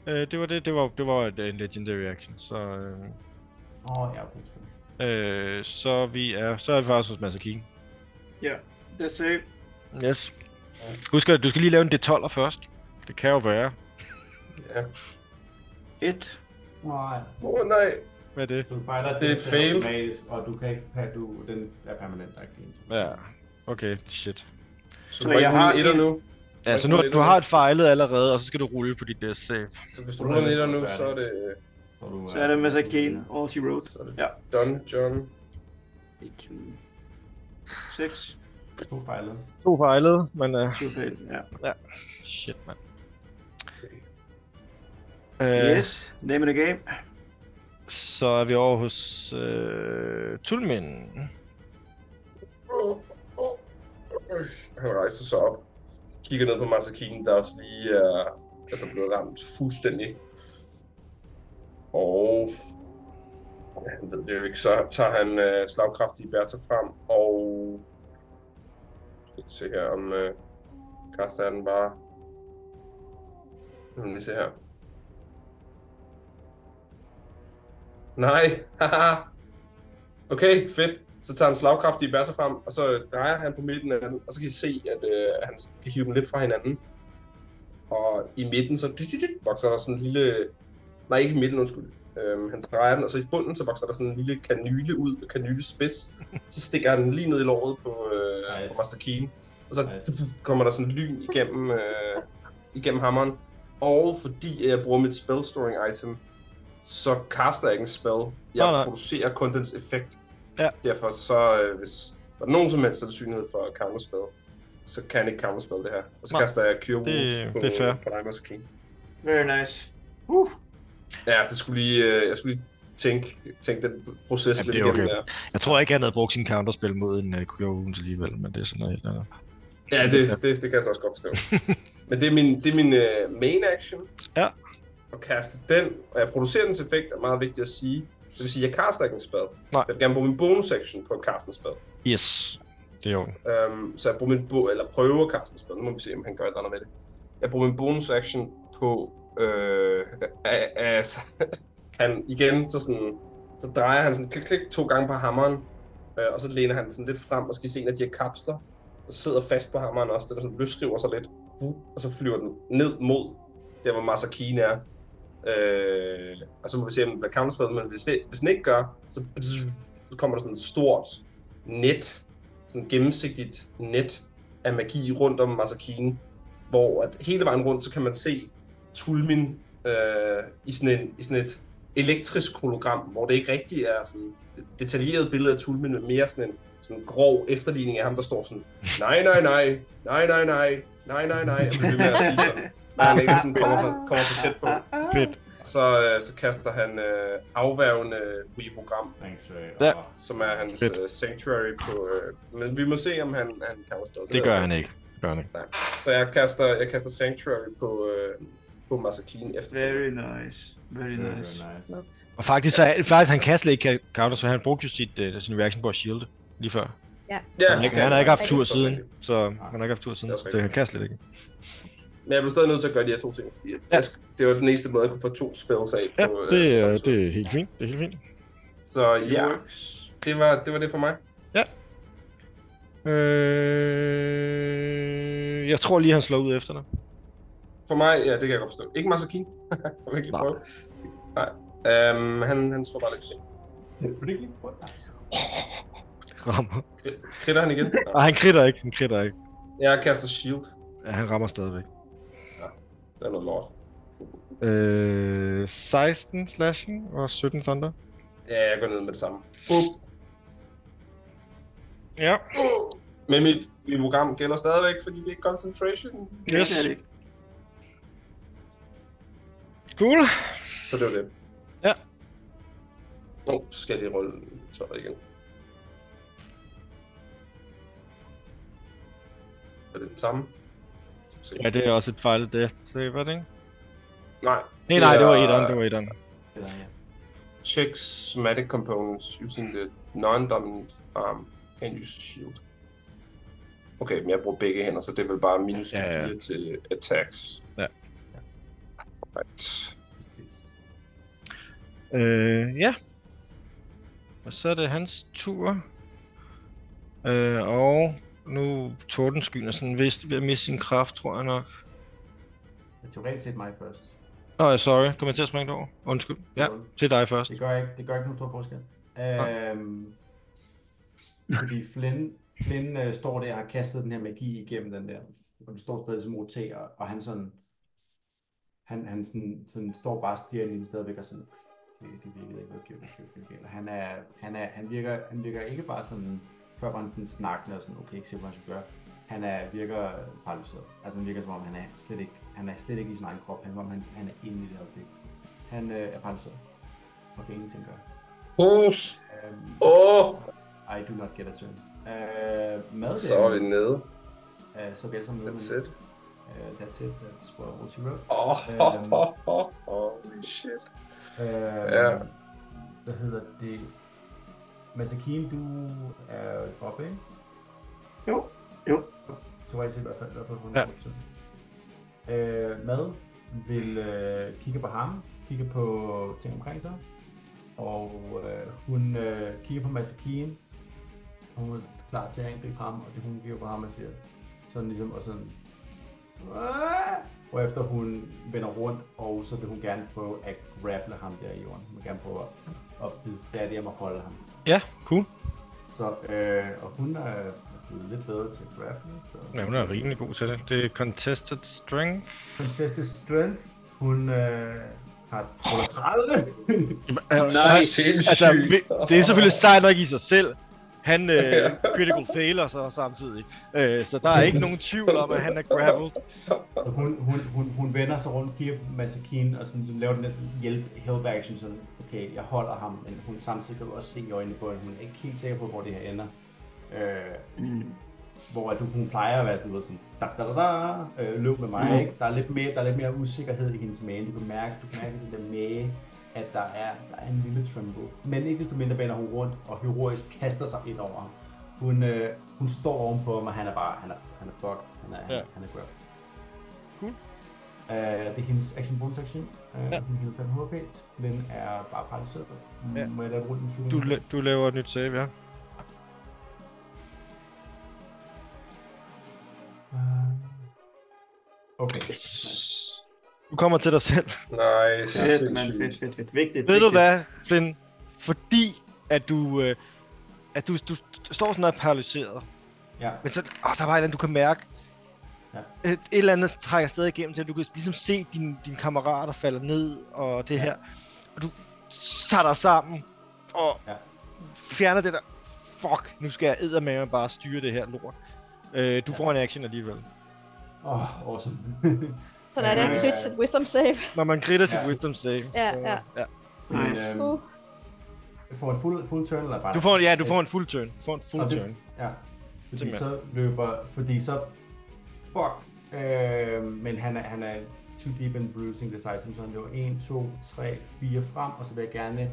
S2: Øh, det var det. Det var, det var et, en legendary action. Så, øh,
S3: Åh, oh, ja, okay. sgu.
S2: øh, så, vi er, så er vi faktisk hos Masakine.
S6: Ja, that's it.
S2: Yes. Husk, at du skal lige lave en D12'er først. Det kan jo være.
S5: Ja.
S6: Et.
S3: Nej,
S5: Åh, oh, nej.
S2: Hvad er det?
S3: du fejler
S5: Det er
S3: til
S5: fail.
S3: automatisk, og du kan ikke have, du, den er permanent, der er ikke ens.
S2: Ja. Okay, shit.
S5: Så,
S6: Så
S5: så jeg
S6: jeg
S5: har
S6: har
S5: etter
S6: en-
S5: nu.
S2: Ja, så Altså, nu du har et fejlet allerede, og så skal du rulle på dit death save.
S5: Så hvis du ruller en etter nu, så er det...
S3: Og du, øh,
S6: Så er der masser af gen.
S3: Ja.
S6: All she wrote.
S5: Så er det
S6: Ja.
S5: done, John.
S6: 1, 2, 6.
S3: To fejlede.
S2: To fejlede, men... Uh,
S6: 20 fail. Ja.
S2: shit, mand.
S5: Okay.
S2: Øh,
S6: Yes. Name in the game.
S2: Så er vi over hos øh, Tulmin.
S5: Åh, åh, øh. Han rejser sig op, kigger ned på Masakinen, der også lige er altså blevet ramt fuldstændig. Og ja, han ved det jo ikke, så tager han øh, slagkraftige Bertha frem, og skal se her, om øh, kaster han bare... Nu skal vi se her. Nej, haha. Okay, fedt. Så tager han slagkraftige bærser frem, og så drejer han på midten af den, og så kan I se, at øh, han kan hive dem lidt fra hinanden. Og i midten, så vokser der sådan en lille... Nej, ikke i midten, undskyld. Øhm, han drejer den, og så i bunden, så vokser der sådan en lille kanyle ud, kanylespids. Så stikker han den lige ned i låret på, øh,
S3: Nice.
S5: på Master Keen. Og så
S3: Nice.
S5: kommer der sådan lyn igennem, øh, igennem hammeren. Og fordi jeg bruger mit spell storing item, så kaster jeg ikke en spell. Jeg
S2: Nej, nej.
S5: producerer kun dens effekt.
S2: Ja.
S5: Derfor så, øh, hvis der er nogen som helst sandsynlighed for counterspell, så kan jeg ikke counterspell det her. Og så
S2: Nej,
S5: nej, kaster jeg Cure Wounds
S2: det-
S5: på,
S2: det er fair.
S5: på dig, Master King.
S6: Very nice. Uff.
S5: Ja, det skulle lige, øh, jeg skulle lige tænke, tænke den proces
S2: Jamen,
S5: Jamen,
S2: det er
S5: lidt igennem
S2: okay.
S5: der.
S2: Jeg tror ikke, han havde brugt sin counterspil mod en uh, Cure Wounds alligevel, men det er sådan noget helt andet.
S5: Ja,
S2: Det er fair.
S5: det, det, det kan jeg så også godt
S2: *laughs*
S5: forstå. Men det er min, det er min uh, main action.
S2: Ja.
S5: At kaste den, og jeg producerer dens effekt, er meget vigtigt at sige. Så det vil sige, at jeg kaster ikke en spell.
S2: Nej.
S5: Jeg vil gerne bruge min bonus action på at kaste en spell.
S2: Yes. Det er jo
S5: Um, så jeg bruger min bo- eller prøver at kaste en spell. Nu må vi se, om han gør et eller andet med det. Jeg bruger min bonus *laughs* action på... Øh, a- a- altså, han igen så sådan Så drejer han sådan klik, klik to gange på hammeren, øh, og så læner han sådan lidt frem og skal se en af de her kapsler, og sidder fast på hammeren også, den er sådan løsriver sig lidt, Buh, og så flyver den ned mod der, hvor Masakine er. Øh, og så må vi se, om det counterspil, men hvis, det, hvis den ikke gør, så, så kommer der sådan et stort net, sådan et gennemsigtigt net af magi rundt om Masakine, hvor at hele vejen rundt, så kan man se Tulmin øh, i, sådan en, i sådan et elektrisk hologram, hvor det ikke rigtig er sådan et detaljeret billede af Tulmin, men mere sådan en sådan grov efterligning af ham, der står sådan, nej, nej, nej, nej, nej, nej, nej, nej, nej, og bliver ved med at sige sådan, når han ikke sådan kommer, så, kommer så tæt på.
S2: Fedt.
S5: Så, øh, så kaster han øh, afværgende weavogram,
S3: Thanks, Ray.
S2: Der.
S3: Og-
S5: som er hans
S2: Fedt.
S5: øh, sanctuary på... Øh, men vi må se, om han, han kan også
S2: Det gør han ikke. Det gør han ikke.
S5: Så jeg kaster, jeg kaster sanctuary på, øh, på Masakine efter.
S6: Very nice. Very
S3: Very
S6: nice.
S3: nice.
S2: Og faktisk, så, er- faktisk han kan slet ikke counter, så han brugte jo sit, uh, sin reaction på at shielde lige før.
S5: Ja,
S2: Han, har ikke- Altså, han har ikke haft tur siden, så
S3: Nej.
S2: han har ikke haft tur siden,
S5: Det er
S2: så
S5: rigtigt.
S2: det han kan slet ikke.
S5: Men jeg blev stadig nødt til at gøre de her to ting, fordi ja. det var den eneste måde, jeg kunne få to spells af.
S2: Ja,
S5: på, øh,
S2: det, er,
S5: samtidig.
S2: det er helt fint. Det er helt fint.
S5: Så ja,
S6: Works.
S5: det var, det var det for mig.
S2: Øh, jeg tror lige, han slår ud efter dig. *laughs*
S5: For mig, ja, det kan jeg godt forstå. Ikke Masakine. *laughs* jeg kan ikke prøve. Nej. Øhm, han, han tror bare lidt.
S3: Predicting? What?
S2: Rammer.
S5: Kritter han
S2: *laughs*
S5: igen? Nej.
S2: Nej, han kritter ikke. Han kritter ikke.
S5: Jeg kaster shield.
S2: Ja, han rammer stadigvæk.
S5: Det er noget lort.
S2: Øh, 16 slashing og 17 thunder.
S5: Ja, jeg går ned med det samme. Up.
S2: Ja.
S5: Men mit, mit program gælder stadigvæk, fordi det er concentration.
S2: Yes.
S6: Det er det ikke.
S2: Cool.
S5: Så det var det.
S2: Ja.
S5: Nå, så skal jeg lige rulle tøjet igen. Er det den samme? Se.
S2: Ja, det er også et fejl death save, er det ikke?
S5: Nej.
S2: Nej, nej, det var etteren, det var etteren.
S3: Det er-
S5: Check somatic components using the non-dominant arm. Can use shield. Okay, men jeg bruger begge hænder, så det er vel bare minus
S2: Ja, ja.
S5: ja, ja. til attacks.
S2: Ja.
S5: Right.
S3: Præcis.
S2: Øh, ja. Og så er det hans tur. Øh, og nu tordenskyen er sådan vist ved at miste sin kraft, tror jeg nok.
S3: Teoretisk set mig først.
S2: Nå, ja, sorry. Kom jeg til at springe det over? Undskyld. Ja, til dig først.
S3: Det gør ikke, det gør ikke nogen stor forskel. Øhm, fordi Flynn, Flynn øh, står der og har kastet den her magi igennem den der. Og den står stadig som OT, og, og han sådan... Han, han sådan, sådan står bare og stiger ind i den stadigvæk og sådan... Det, det virkede ikke, okay, okay, okay, okay. Og Han, er, han, er, han, virker, han virker ikke bare sådan... Før var han sådan snakkende og sådan, okay, ikke se, hvad han skal gøre. Han er, virker paralyseret. Altså han virker som om, han er slet ikke, han er slet ikke i sin egen krop. Han, er som om han, han er inde i det øjeblik. Han øh, er paralyseret. Og kan ingenting gøre.
S5: Åh,
S3: Um,
S5: oh,
S3: I do not get a turn. Uh, med
S5: så er vi nede.
S3: det. Uh, så er vi alle sammen med.
S5: That's it.
S3: Uh, that's it. That's what what you wrote.
S5: Oh,
S3: Øhm.
S5: oh, oh, oh, holy shit.
S3: Uh,
S5: Ja.
S3: Hvad hedder det? Masakine, du er oppe, ikke?
S6: Jo, jo.
S3: Så var I selv i hvert fald, i hvert fald på
S2: Ja.
S3: Uh, mad vil uh, kigge på ham, kigge på ting omkring sig, og uh, hun uh, kigger på Masakine, og hun er klar til at angribe ham, og det hun kigger på ham og siger, sådan ligesom, og sådan, og efter hun vender rundt, og så vil hun gerne prøve at grapple ham der i jorden. Hun vil gerne prøve at, at bide fat i ham og holde ham.
S2: Ja, cool.
S3: Så, øh, og hun er blevet lidt bedre til grappling, så...
S2: Ja, hun er rimelig god til det. Det er contested strength.
S3: Princess Strength, hun øh, har ruller 30.
S2: Nej, altså, vi- det er selvfølgelig sejt nok i sig selv. Han øh, critical failer så samtidig. Øh, så der er ikke nogen tvivl om, at han er grappled.
S3: Og hun, hun, hun, hun vender sig rundt, kigger på Masakine og sådan, sådan laver den der hjælp, help action, sådan, okay, jeg holder ham, men hun samtidig kan du også se i øjnene på hende, hun er ikke helt sikker på, hvor det her ender. Øh,
S6: Mm.
S3: hvor at du, hun plejer at være sådan, du ved, sådan da, da, da, da, øh, løb med mig,
S6: Mm.
S3: ikke? Der er, lidt mere, der er lidt mere usikkerhed i hendes mage. Du kan mærke, du kan mærke i den der mage, at der er, der er en lille tremble. Men ikke desto mindre vender hun rundt og heroisk kaster sig ind over ham. Hun, øh, hun står ovenpå ham, og han er bare, han er, han er fucked. Han er,
S2: Ja.
S3: han er grab.
S2: Cool.
S3: Uh, Uh, det er hendes action bonus action. Uh,
S2: Ja.
S3: ja. Hun kan 5 HP. Den er bare paralyseret.
S2: Ja.
S3: Ja. Må jeg lade rulle den 20?
S2: Du, la- du laver et nyt save, ja.
S3: Øh, Okay.
S2: Du kommer til dig selv.
S5: Nice.
S6: Fedt, mand. Fedt, fedt, fedt. Vigtigt.
S2: Ved du
S6: vigtigt.
S2: hvad, Flynn? Fordi at du, øh, at du, du st- står sådan noget paralyseret.
S3: Ja.
S2: Men så, åh, der var et eller andet, du kan mærke.
S3: Ja.
S2: Et, et eller andet trækker stadig igennem til, du kan ligesom se dine din kammerater falder ned og det her. Og du tager dig sammen og
S3: Ja.
S2: fjerner det der. Fuck, nu skal jeg med bare styre det her lort. Øh, du får en action alligevel.
S3: Åh, oh, awesome.
S7: Så der er det en
S2: Øhm,
S3: Øh.
S7: crit sit wisdom save.
S2: Når man gritter sit
S3: Ja.
S2: wisdom save.
S7: Ja,
S2: så-
S7: ja.
S2: ja.
S6: Nice.
S3: Men,
S7: Uh,
S3: øhm, jeg får en fuld, fuld turn, eller bare?
S2: Du får en, ja, du får en full turn. Du får en full
S3: Og det-
S2: turn.
S3: Ja. Fordi
S2: Simpelthen.
S3: så løber... Fordi så... Fuck. Øh, men han er, han er too deep in bruising the item, så han løber 1, 2, 3, 4 frem, og så vil jeg gerne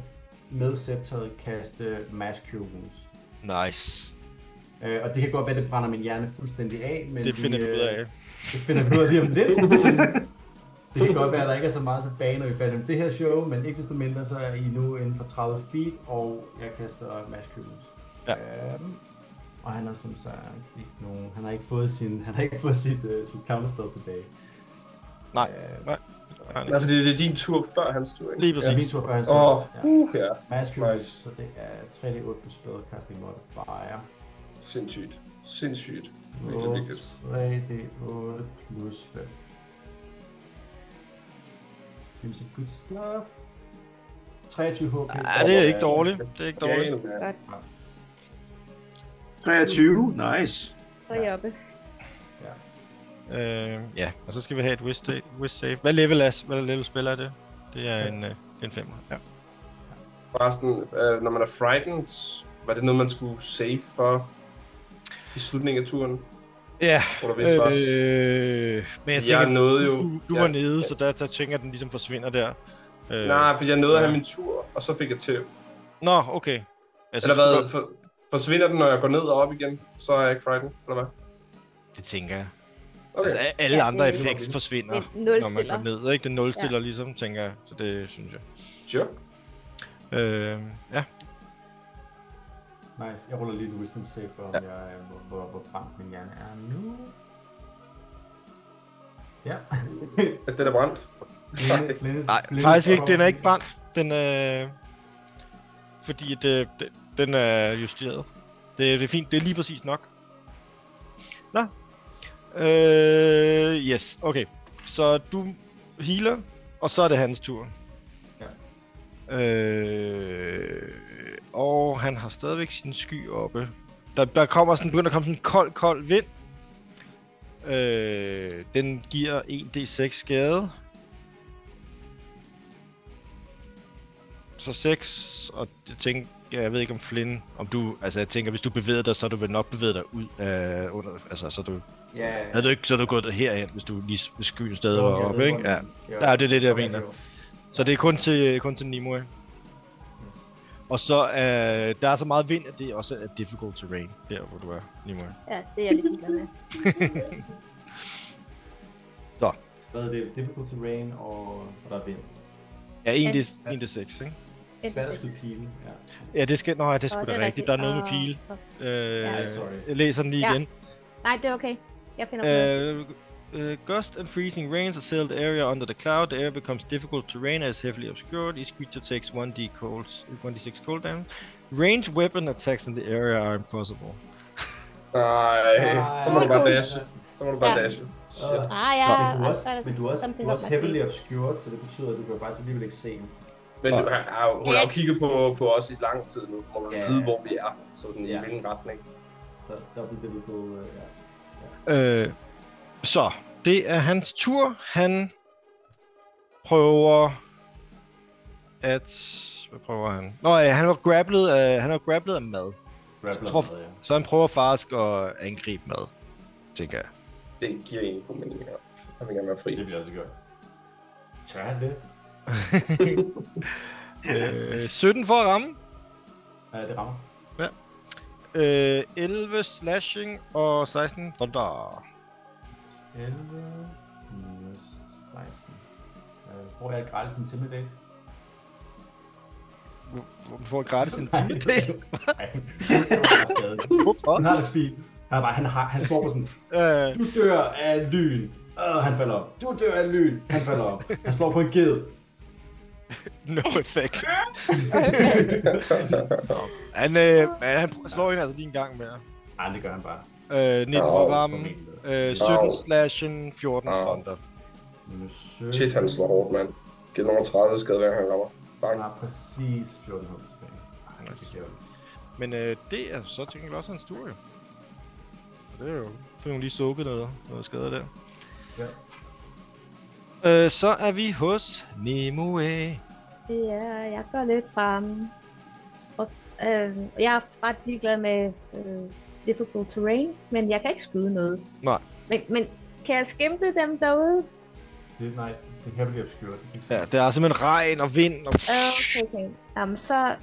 S3: med scepteret kaste Mass Cure Wounds.
S2: Nice.
S3: Øh, og det kan godt være, at det brænder min hjerne fuldstændig af, men
S2: Det finder
S3: vi, øh,
S2: du ud af.
S3: Det finder vi ud af lige om lidt. det kan godt være, at der ikke er så meget tilbage, når vi færdige med det her show, men ikke desto mindre, så er I nu inden for 30 feet, og jeg kaster Mads Købens. Ja. Øhm, og han har som sagt ikke nogen, han har ikke fået, sin, han har ikke fået sit, uh, sit counterspell tilbage.
S2: Nej,
S3: Øhm,
S2: nej.
S5: Nej, fordi det er din tur før hans tur, ikke?
S2: Lige
S3: det er min
S2: præcis.
S3: tur før hans
S5: Åh,
S3: tur. Ja.
S5: uh, ja.
S3: Mads Købens,
S5: Nice.
S3: så det er 3D8 på spellcasting modifier.
S5: Sindssygt. Sindssygt. Virkelig vigtigt.
S3: 3D8 plus 5. Jamen så good stuff. 23 HP.
S2: Ja, det er ikke dårligt. Det er ikke dårligt.
S5: Damn, man.
S6: 23. Nice.
S7: så er jeg oppe.
S2: Øh, ja, og så skal vi have et wrist, wrist save. Hvad level, er, hvad level spiller er det? Det er en, øh, en femmer. Ja.
S5: Forresten, øh, når man er frightened, var det noget, man skulle save for i slutningen af turen?
S2: Ja,
S5: Hvor der vist var...
S2: øh, men jeg
S5: Jeg
S2: tænker,
S5: nåede jo-
S2: du, du
S5: ja.
S2: var nede, så der, der tænker jeg, den ligesom forsvinder der. Øh,
S5: Nej, for jeg nåede at have
S2: ja.
S5: min tur, og så fik jeg tæv.
S2: Nå, okay. Altså,
S5: Eller
S2: skulle
S5: hvad? For, forsvinder den, når jeg går ned og op igen? Så er jeg ikke frightened, eller hvad?
S2: du- Det tænker jeg. Okay.
S5: Okay.
S2: Altså, a- alle
S7: Ja,
S2: ja, andre
S7: det-
S2: effekts forsvinder,
S7: Det
S2: når man
S7: nulstiller.
S2: går ned. Ikke? Det nulstiller ja. ligesom, tænker jeg. Så det synes jeg.
S5: Jerk.
S2: Øh, ja,
S3: Nice. Jeg ruller lige et wisdom save for, om jeg, øh, hvor, hvor, hvor frank min hjerne er nu.
S2: *laughs*
S3: Ja.
S5: At den er brændt.
S3: Flynn- Flynn-
S2: Nej,
S3: Flynn-
S2: faktisk ikke. Den er ikke brændt. Den er... Fordi det, det, den er justeret. Det, det er fint. Det er lige præcis nok. Nå. Øh, yes, okay. Så du healer, og så er det hans tur. Ja. Øh, og han har stadigvæk sin sky oppe. Der, der kommer sådan, begynder at komme sådan en kold, kold vind. Øh, den giver 1d6 skade. så 6, og jeg tænker, jeg ved ikke om Flynn, om du, altså jeg tænker, hvis du bevæger dig, så er du vel nok bevæget dig ud af, under, altså så er du,
S3: Ja.
S2: havde du ikke, så er du gået herhen, hvis du lige s- hvis skyen stadig var
S3: Jeg ved,
S2: oppe, ikke?
S3: hvor
S2: Ja.
S3: den- Jo.
S2: ja, det er det, jeg
S3: Okay,
S2: mener.
S3: jo.
S2: Så det er kun til, kun til Nimue. Og så øh, der er så meget vind, at det også er difficult terrain, der hvor du er, Nimue.
S7: Ja, det er jeg lidt ligeglad med.
S3: Hvad er det? Difficult terrain, og, og der er vind.
S2: Ja, 1d6, ikke?
S7: En
S3: Svært at
S7: til.
S3: skulle sige den. Ja.
S2: Ja, det skal, nå, ja, det er sgu
S7: Åh,
S2: da rigtigt. Ah. Der er noget med
S7: Åh,
S2: pile.
S7: fuck.
S2: Øh,
S3: Ja, sorry.
S2: jeg læser den lige
S7: Ja.
S2: igen.
S7: Nej, det er okay. Jeg finder på
S3: Øh,
S7: noget.
S2: Uh, uh, gust and freezing rains assail the area under the cloud. The area becomes difficult terrain as heavily obscured. Each creature takes 1d cold, 1d6 cold damage. Range weapon attacks in the area are impossible.
S5: Nej, så må du bare
S7: Cool.
S5: dashe. Så må du bare
S7: Ja.
S5: dashe. Shit.
S3: Shit.
S7: Ah, ja.
S3: Men du
S7: ah,
S3: er også, men du er også,
S7: something
S3: du
S7: up
S3: er også
S7: my sleeve.
S3: heavily obscured, så det betyder, at du kan faktisk alligevel ikke se ham.
S5: Men du, har- har, hun har jo kigget på, på os i lang tid nu, hvor man
S3: Ja.
S5: ved, hvor vi er. Så sådan i
S3: Ja.
S5: hvilken retning.
S3: Så dobbelt det vil gå, øh, ja.
S2: Uh, så, det er hans tur. Han prøver at... Hvad prøver han? Nå ja, han var grapplet af, han var grapplet af mad.
S3: Grappler
S2: Tror-
S3: med, ja.
S2: Så han prøver faktisk at angribe mad, tænker jeg.
S5: Det giver egentlig god mening her. Jeg vil gerne være fri.
S3: Det bliver også gjort. Tør han det?
S2: Øh, 17 for at ramme.
S3: Ja, det rammer.
S2: Øh, 11 slashing og 16 thunder.
S3: 11 minus 16. Øh, får jeg et gratis intimidate?
S2: Du får gratis en time.
S3: *laughs* Nej. det var skadet.
S2: Hvorfor?
S3: Han har det fint. Han, er bare, han, har, han står på sådan,
S2: Øh,
S3: du dør af lyn. Øh, han falder op. Du dør af lyn. Han falder op. Han slår på en ged.
S2: no effect. Han, øh, han, han slår hende altså lige en gang mere.
S3: Nej, det gør han bare.
S2: Øh, 19 for
S5: Au,
S2: varmen. Øh, 17
S5: Au.
S2: slashen, 14
S5: Au.
S2: fronter.
S3: Minus 17.
S5: Shit, han slår hårdt, mand. Giv nummer 30 skade, hver gang han rammer. Bang.
S3: Han har præcis 14 hul tilbage. Ej, han er ikke jævlig.
S2: Men øh, det er så til gengæld også hans tur, jo. Og Det er jo, fordi hun lige sukket noget, noget skade der.
S3: Ja.
S2: Øh, så er vi hos Nimue.
S4: Ja, jeg går lidt frem. Og, øh, jeg er ret ligeglad med øh, difficult terrain, men jeg kan ikke skyde noget.
S2: Nej.
S4: Men, men kan jeg skimte dem derude?
S3: Det, er- nej, det kan blive obskurt. Det er ikke så-
S2: Ja, der er simpelthen regn og vind, og
S4: Øh, Okay, okay. Jamen, så...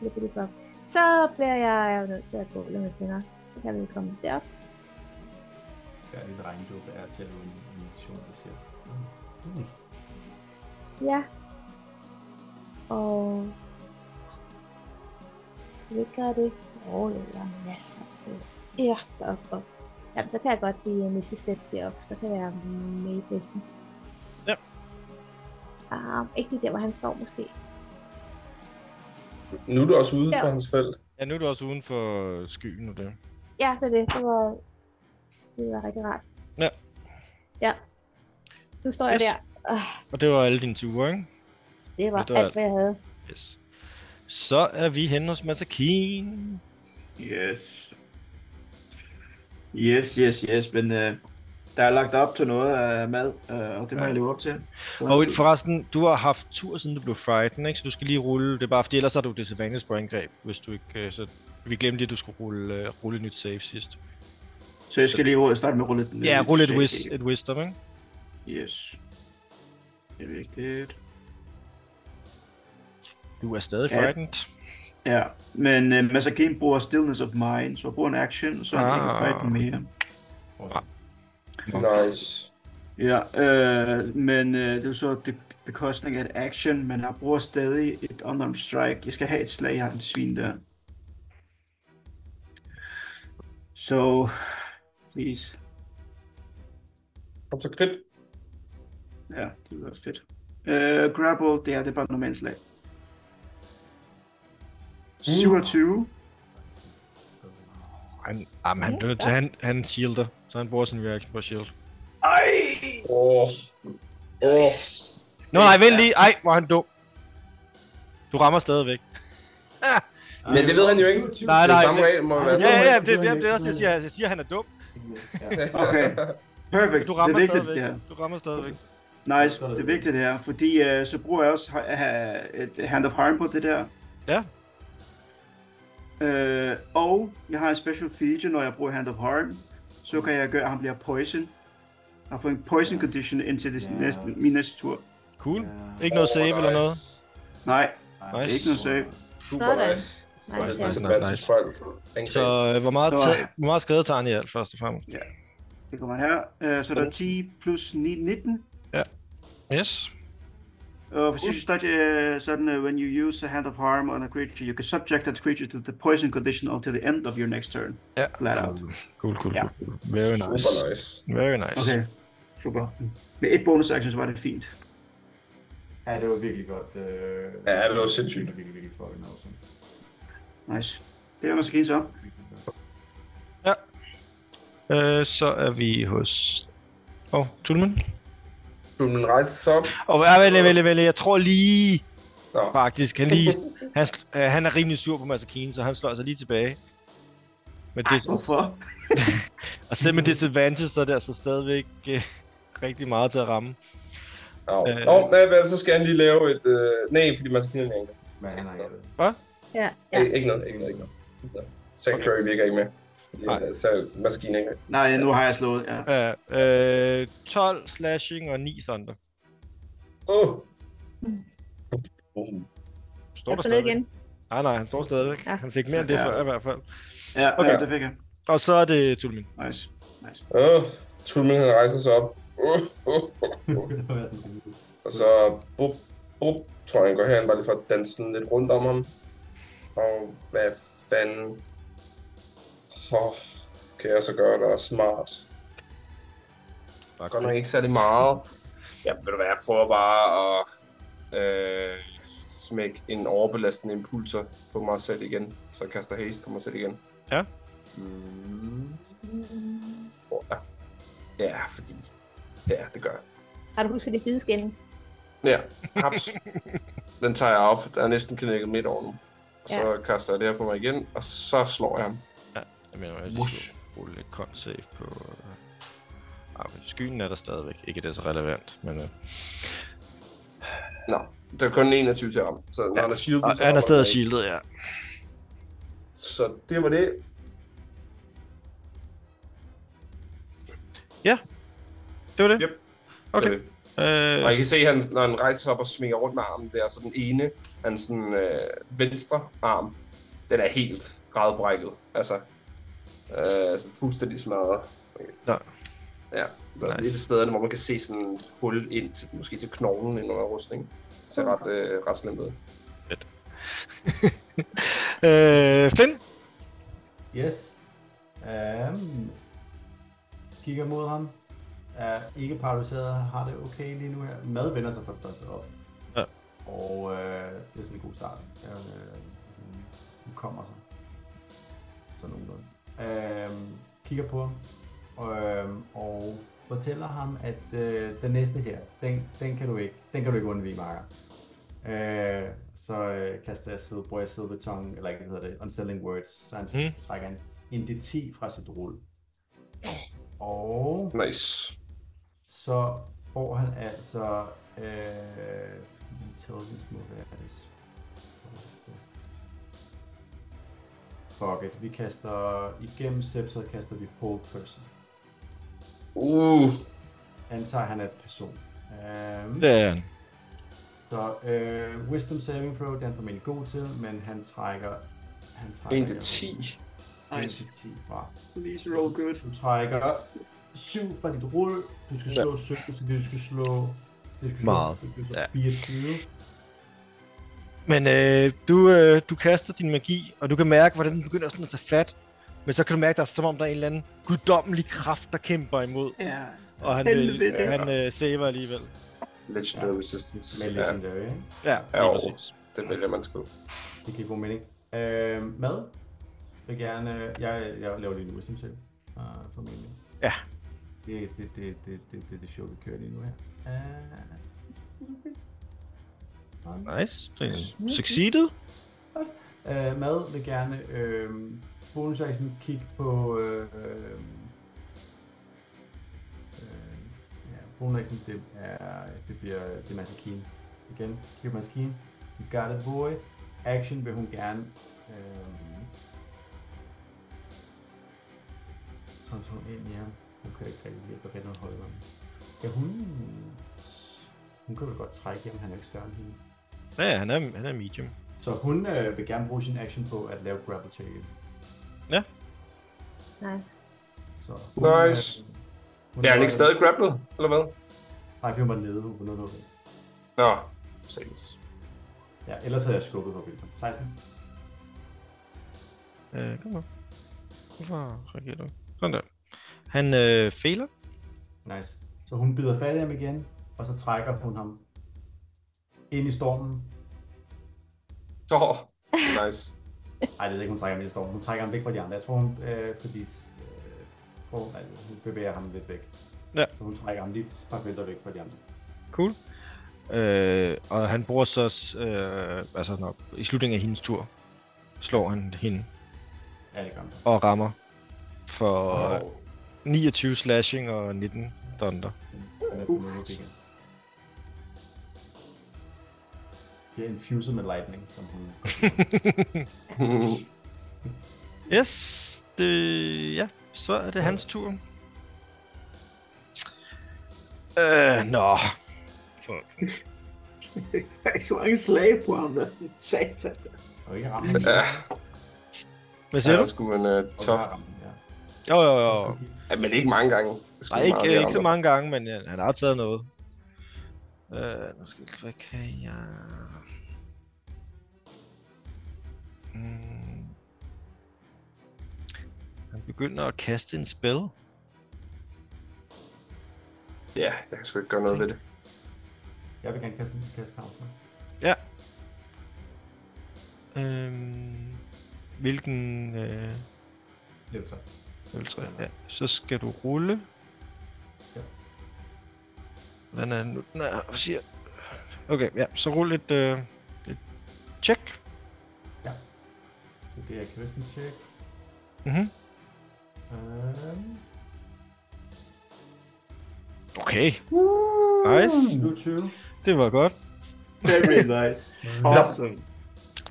S4: Look at it up. Så bliver jeg jo nødt til at gå lidt med fingre. Jeg vil komme derop.
S3: Ja, det er regndåb er selv en animation, der ser.
S4: Ja. Og... Hvad gør det? Åh, oh, jeg har masser af space. Ja, deroppe. Og- Jamen, så kan jeg godt lige miste step deroppe. Så kan jeg være med i festen.
S2: Ja.
S4: Ah, ikke lige der, hvor han står måske.
S5: Nu er du også ude
S4: Ja.
S5: for hans felt.
S2: ja, nu er du også uden for skyen og det.
S4: Ja, det er det. Det var, det var rigtig rart.
S2: Ja.
S4: Ja. Nu står jeg
S2: Yes.
S4: der.
S2: Og det var alle dine ture, ikke?
S4: Det var
S2: Men det var
S4: alt, hvad jeg havde.
S2: Yes. Så er vi henne hos Masakin.
S6: Yes. Yes, yes, yes, men øh, der er lagt op til noget af mad, øh, og det må
S2: Ja.
S6: jeg leve op til. Så
S2: Og forresten, du har haft tur, siden du blev frightened, ikke? Så du skal lige rulle. Det er bare, fordi ellers har du disadvantage på angreb, hvis du ikke... øh, Så vi glemte lige, at du skulle rulle, øh, rulle et nyt save sidst.
S6: Så jeg skal lige ru- starte med at rulle et
S2: Ja, rulle et,
S6: check.
S2: wis, et wisdom, ikke?
S6: Yes. Det er vigtigt.
S2: Du er stadig
S6: Ja.
S2: frightened.
S6: Ja, men øh, Masakin bruger Stillness of Mind, så bruger en action, så han ah.
S2: Ah.
S6: kan fight den mere.
S5: Nice.
S6: Ja, øh, men øh, det er jo så det bekostning af et action, men jeg bruger stadig et unarmed strike. Jeg skal have et slag, jeg har en svin der. Så, please.
S5: Kom så krit.
S6: Ja, det ville være fedt. Øh, grapple, det er, det er bare et normalt slag. 27.
S2: Han, jamen, han, bliver nødt til- han, han shielder, så han bruger sin reaction på at shield.
S6: Ej!
S5: Åh. Åh.
S2: Nå, nej, vent lige. Ej, hvor er han dum. Du rammer stadigvæk.
S5: Men det ved han jo ikke.
S2: Nej,
S5: Det
S2: nej.
S5: er samme
S2: det-
S5: regel, må det være
S2: Ja, ja,
S5: samme
S2: ja,
S5: regel.
S2: det, det, det, det er også, jeg siger. Jeg siger, han er dum.
S6: Okay, perfect.
S2: Du
S6: det
S2: rammer
S6: er vigtigt, det
S2: stadigvæk.
S6: her.
S2: Du rammer stadigvæk.
S6: Nice, det er vigtigt det her, fordi øh, så bruger jeg også uh, et Hand of Harm på det der.
S2: Ja.
S6: Øh, og jeg har en special feature, når jeg bruger Hand of Harm, så kan jeg gøre, at han bliver poison. Han får en poison condition indtil det
S3: Ja.
S6: næste, min næste tur.
S2: Cool. Ikke noget save eller noget.
S6: Nej,
S2: Nice.
S6: ikke noget save.
S5: Super
S7: Sådan.
S5: nice. Så er det
S7: Nice,
S2: ja. Nice.
S5: disadvantage folk.
S2: Så øh, hvor, meget
S6: Nå.
S2: ta- hvor meget skade tager han i alt, først og fremmest?
S6: Det kommer her. Øh, så der er 10 plus 9, 19.
S2: Yes.
S6: Og for sidste touch, øh, sådan, uh, when you use a Hand of Harm on a creature, you can subject that creature to the poison condition until the end of your next turn.
S2: Ja.
S6: Flat out.
S2: Cool, cool,
S6: Ja.
S2: cool. Very nice.
S5: Super nice.
S2: Very nice.
S6: Okay, super. Med et bonus action, så var det fint.
S3: Ja, det var virkelig godt. Øh,
S5: Ja, det var sindssygt.
S3: Det var virkelig, virkelig fucking awesome.
S6: Nice. Det er måske så.
S3: Virkelig godt.
S2: Øh, så er vi hos... Åh, oh, Tulman?
S5: Du vil rejse sig op.
S2: Åh, oh, vælge, vælge, vælge. Jeg tror lige...
S5: Nå.
S2: Faktisk, han lige... Han, sl- øh, han er rimelig sur på Masakine, så han slår sig lige tilbage. Men det,
S6: Hvorfor?
S2: og selv med disadvantage, så er det altså stadigvæk øh, *laughs* rigtig meget til at ramme.
S5: Nå,
S2: Øh.
S5: Nå, nej, hvad, så skal han lige lave et... Øh... Nej, fordi man skal kende en enkelt.
S3: Men han har ikke det.
S4: Ja, ja.
S5: Ikke ikke noget, ikke noget, ikke noget. Ikke noget. Sanctuary virker ikke med.
S2: Nej.
S5: Så maskinen ikke med.
S6: Nej, nu har jeg slået. Ja.
S2: Ja, øh, 12 slashing og 9 thunder.
S5: Åh! Mm. Boom.
S2: Står
S4: Jeg
S2: der
S4: får ned
S2: stadigvæk?
S4: igen.
S2: Nej, nej, han står stadigvæk.
S4: Ja.
S2: Han fik mere end det
S6: Ja.
S2: før i hvert fald.
S6: Ja,
S5: Okay.
S6: okay. det fik jeg.
S2: Og så er det Tulmin.
S6: Nice.
S5: Åh, Tulmin han rejser sig op.
S3: Det var sådan en lille-
S5: Og så Bob, Bob tror jeg, han går herhen, bare lige for at danse sådan lidt rundt om ham. Og hvad fanden... Oh, kan jeg så gøre, der er smart?
S2: Bare
S5: Godt nok ikke særlig meget. Ja, ved du hvad, jeg prøver bare at øh, smække en overbelastende impulser på mig selv igen. Så jeg kaster haste på mig selv igen.
S2: Ja.
S5: Mm. Hvor er- Ja, fordi... Ja, det gør jeg.
S4: Har du husket det bideskænding?
S5: Ja, haps. Den tager jeg op. Der er næsten knækket midt over nu. Og så kaster jeg det her på mig igen, og så slår jeg ham.
S2: Jeg mener, jeg lige
S5: Whoosh.
S2: skulle rulle lidt con save på... Ah, men skyen er der stadigvæk. Ikke at det er så relevant, men... Øh...
S5: Nå, der er kun 21 til ham. Så når
S2: Ja.
S5: han er shieldet,
S2: Og
S5: så
S2: han
S5: rammer
S2: er stadig
S5: den ikke.
S2: shieldet, ja.
S5: Så det var det.
S2: Det var det.
S5: Yep.
S2: Okay.
S5: Det var det. Og
S2: Øh,
S5: jeg kan se, han, når han rejser sig op og svinger rundt med armen der, så den ene, hans sådan, øh, venstre arm, den er helt gradbrækket. Altså, øh, altså fuldstændig smadret.
S2: Nå.
S5: Ja, der er sådan
S2: Nice.
S5: et af stederne, hvor man kan se sådan en hul ind til, måske til knoglen ind under rustningen. Det
S3: Mm.
S5: ser ret, øh, ret slemt ud.
S2: øh, Finn?
S3: *laughs* Yes. Um, kigger mod ham. Er ikke paralyseret, har det okay lige nu her. Mad vender sig for det første op.
S2: Ja.
S3: Og øh, det er sådan en god start. Jeg, øh, hun kommer sig. Så nogenlunde. Um, kigger på ham. Øhm, og fortæller ham, at øh, den næste her, den, den, kan du ikke, den kan du ikke undvige, Marker. Øh, så øh, kaster jeg sidde, bruger jeg silbetongen, eller ikke, hvad hedder det, unselling words, så han
S2: Mm.
S3: mm. trækker en, en D10 fra sit rulle. Og
S5: Nice.
S3: så får han altså, øh, fordi intelligence må være det sværeste. Fuck it, vi kaster, igennem Scepter kaster vi Pole Person.
S5: Uh,
S3: Antager han er et person. Um,
S2: Ja, ja.
S3: Så øh, Wisdom Saving Throw, den er han formentlig god til, men han trækker... Han trækker
S5: 1 til 10.
S3: Nice.
S6: Nice.
S3: 10 fra.
S6: Please roll good.
S3: Du trækker 7 fra dit rulle. Du skal slå 17, så du skal slå... Du skal slå,
S2: Meget.
S3: Du skal slå
S2: Ja.
S3: 24.
S2: Men øh, du, øh, du kaster din magi, og du kan mærke, hvordan den begynder sådan at tage fat. Men så kan du mærke, at der er som om, der er en eller anden guddommelig kraft, der kæmper imod.
S6: Ja.
S2: Og han, øh,
S6: Helvede.
S2: han øh, saver alligevel.
S5: Legendary
S3: Ja.
S5: Resistance.
S3: Med
S5: Ja,
S3: Legendary, ikke?
S2: Ja,
S5: Ja,
S2: lige præcis.
S5: det vælger man sgu.
S3: Det giver god mening. Øh, mad? Jeg vil gerne... øh, Jeg, jeg laver lige en Wisdom Save. Uh, formentlig.
S2: Ja.
S3: Det, det, det, det, det, det, det show, vi kører lige nu her. Øh, Uh,
S2: Nice. Det er en Succeeded.
S3: Øh, mad vil gerne øh, bonusaction kigge på... Øh, øh, øh, ja, bonusaction, det, er, det bliver det er Masakine. Igen, kigge på Masakine. You got it, boy. Action vil hun gerne... Øh, sådan hun ind i ham. Hun kan ikke rigtig lide at rigtig noget højere. Ja, hun... Hun kan vel godt trække hjem, han er jo ikke større end hende.
S2: Ja, ja, han er, han er medium.
S3: Så hun øh, vil gerne bruge sin action på at lave grapple check.
S4: Nice.
S3: Så
S5: Nice.
S3: Hun,
S5: Ja, han er ikke stadig grapplet, eller hvad?
S3: Nej, fordi hun var nede, hun nåede noget.
S5: Nå, sales.
S3: Ja, ellers havde jeg skubbet på vildt. 16.
S2: Øh, kom nu. Hvorfor reagerer du? Sådan der. Han øh, fejler.
S3: Nice. Så hun bider fat i ham igen, og så trækker hun ham ind i stormen.
S5: Så,
S3: *laughs*
S5: nice.
S3: Nej, det er ikke, hun trækker ham ind i stormen. Hun trækker ham væk fra de andre. Jeg tror, hun, øh, fordi, øh, jeg tror, at hun bevæger ham lidt væk.
S2: Ja.
S3: Så hun trækker ham lidt par felter væk fra de andre.
S2: Cool. Øh, og han bruger så, s- øh, altså når, i slutningen af hendes tur, slår han hende
S3: Ja, det gør hun.
S2: og rammer for
S5: Og,
S2: oh. 29 slashing og 19 thunder.
S3: Hun er på noget igen. Det er infused med lightning, som hun...
S5: *laughs*
S2: Yes, det, ja, så er det hans tur. Øh, nå.
S6: *laughs* Der er ikke så mange slag på ham, der. Satan.
S3: Og ikke ramme.
S5: ja,
S2: Hvad siger ja.
S5: han er
S2: du?
S5: sgu en uh, øh, tough
S3: Ja.
S2: Jo, jo, jo.
S5: Ja, men ikke mange gange. Det
S2: Nej, ikke, øh, ikke så mange gange, men øh, han har taget noget. Øh, nu skal jeg, hvad kan jeg... Mm. Han begynder at kaste en spil.
S5: Ja, jeg kan sgu ikke gøre noget ved det.
S3: Jeg vil gerne kaste en kaste havn.
S2: Øhm, hvilken øh,
S3: Lev så.
S2: level 3? Ja. Så skal du rulle.
S3: Ja.
S2: Hvordan er den nu? Nå, hvad siger Okay, ja, så rul et, øh, et check.
S3: Så det er Christian check.
S2: Mhm.
S3: Øhm,
S2: Okay. Nice.
S3: nu 20.
S2: Det var godt.
S6: Very nice. awesome.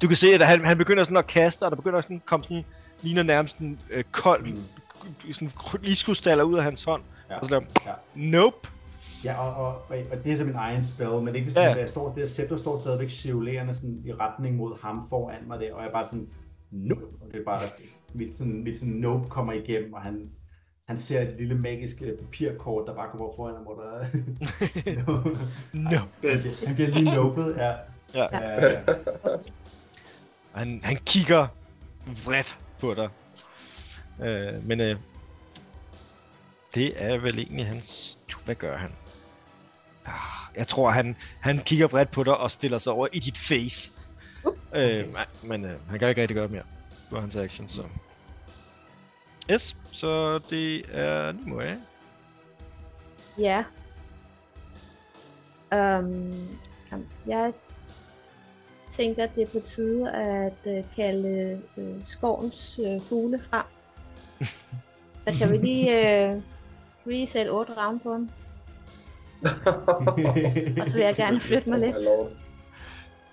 S2: Du kan se, at han, han begynder sådan at kaste, og der begynder sådan at komme sådan, ligner nærmest en øh, kold,
S3: Mm.
S2: mm. sådan iskustaller ud af hans hånd.
S3: Ja.
S2: Ja. Og så der,
S3: Ja.
S2: nope.
S3: Ja, og, og, og, og det er så min egen spil, men det er ikke sådan,
S2: Ja.
S3: ja. jeg står der, Septo står stadigvæk cirkulerende sådan i retning mod ham foran mig der, og jeg er bare sådan, nope, og det er bare, mit sådan, mit sådan nope kommer igennem, og han, han ser et lille magisk øh, papirkort, der bare kommer foran ham, hvor
S2: *laughs*
S3: der er,
S2: No.
S3: *laughs* han, bliver, han bliver lige nopet, ja.
S2: Ja.
S3: ja.
S2: Og Han, han kigger vredt på dig. Øh, men øh, det er vel egentlig hans... Hvad gør han? Ah, Jeg tror, han, han kigger vredt på dig og stiller sig over i dit face. Øh, men- men øh, han kan ikke rigtig gøre mere på hans action, så... Yes, så det er Nimo, ja?
S4: Ja. Øhm, kom. jeg tænker, at det er på tide at øh, kalde øh, skovens øh, fugle frem. Så kan vi lige øh, reset 8 ravn på dem,
S3: Øh. *laughs*
S4: og så vil jeg gerne flytte mig lidt.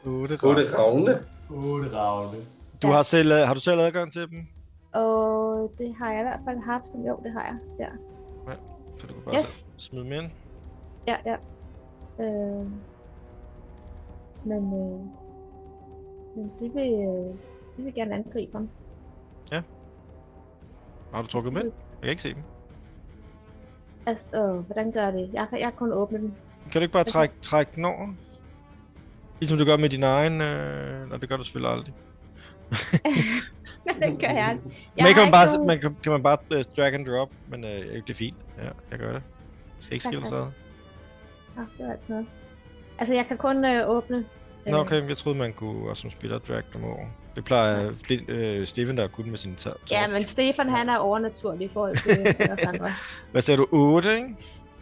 S5: Otte ravne.
S3: Otte ravne.
S2: Du
S4: Ja.
S2: har, selv, øh, har du selv adgang til dem?
S4: Og det har jeg i hvert fald haft, som jo, det har jeg. Der.
S2: Så du kan bare
S4: Yes.
S2: yes. smide dem ind.
S4: Ja, ja. Øh, men, øh, men det vil, øh, det vil gerne angribe ham.
S2: Har du trukket med? Jeg
S4: Mm.
S2: kan ikke se dem.
S4: Altså, øh, hvordan gør jeg det? Jeg kan, jeg kan kun åbne den. *laughs*
S2: Kan du ikke bare
S4: Okay.
S2: trække, trække den over? Ligesom du gør med din egen... Øh... Nej, det gør du selvfølgelig aldrig.
S4: Men den gør jeg ikke.
S2: Jeg men kan
S4: har
S2: man, bare,
S4: ikke
S2: man kan, kan man bare øh, drag and drop, men øh, det er fint. Ja, jeg gør det. Jeg skal ikke
S4: Tak,
S2: skille
S4: tak.
S2: sig. ad.
S4: Ah, det var altså noget. Altså, jeg kan kun øh, åbne...
S2: Nå, okay, jeg troede, man kunne også som spiller drag dem over. Det plejer øh, Flint, øh, Steven, der kunne med sin tab.
S4: Øh, Ja, men Stefan, han er overnaturlig i forhold
S2: *laughs*
S4: til øh, os andre.
S2: Hvad sagde du? 8, ikke?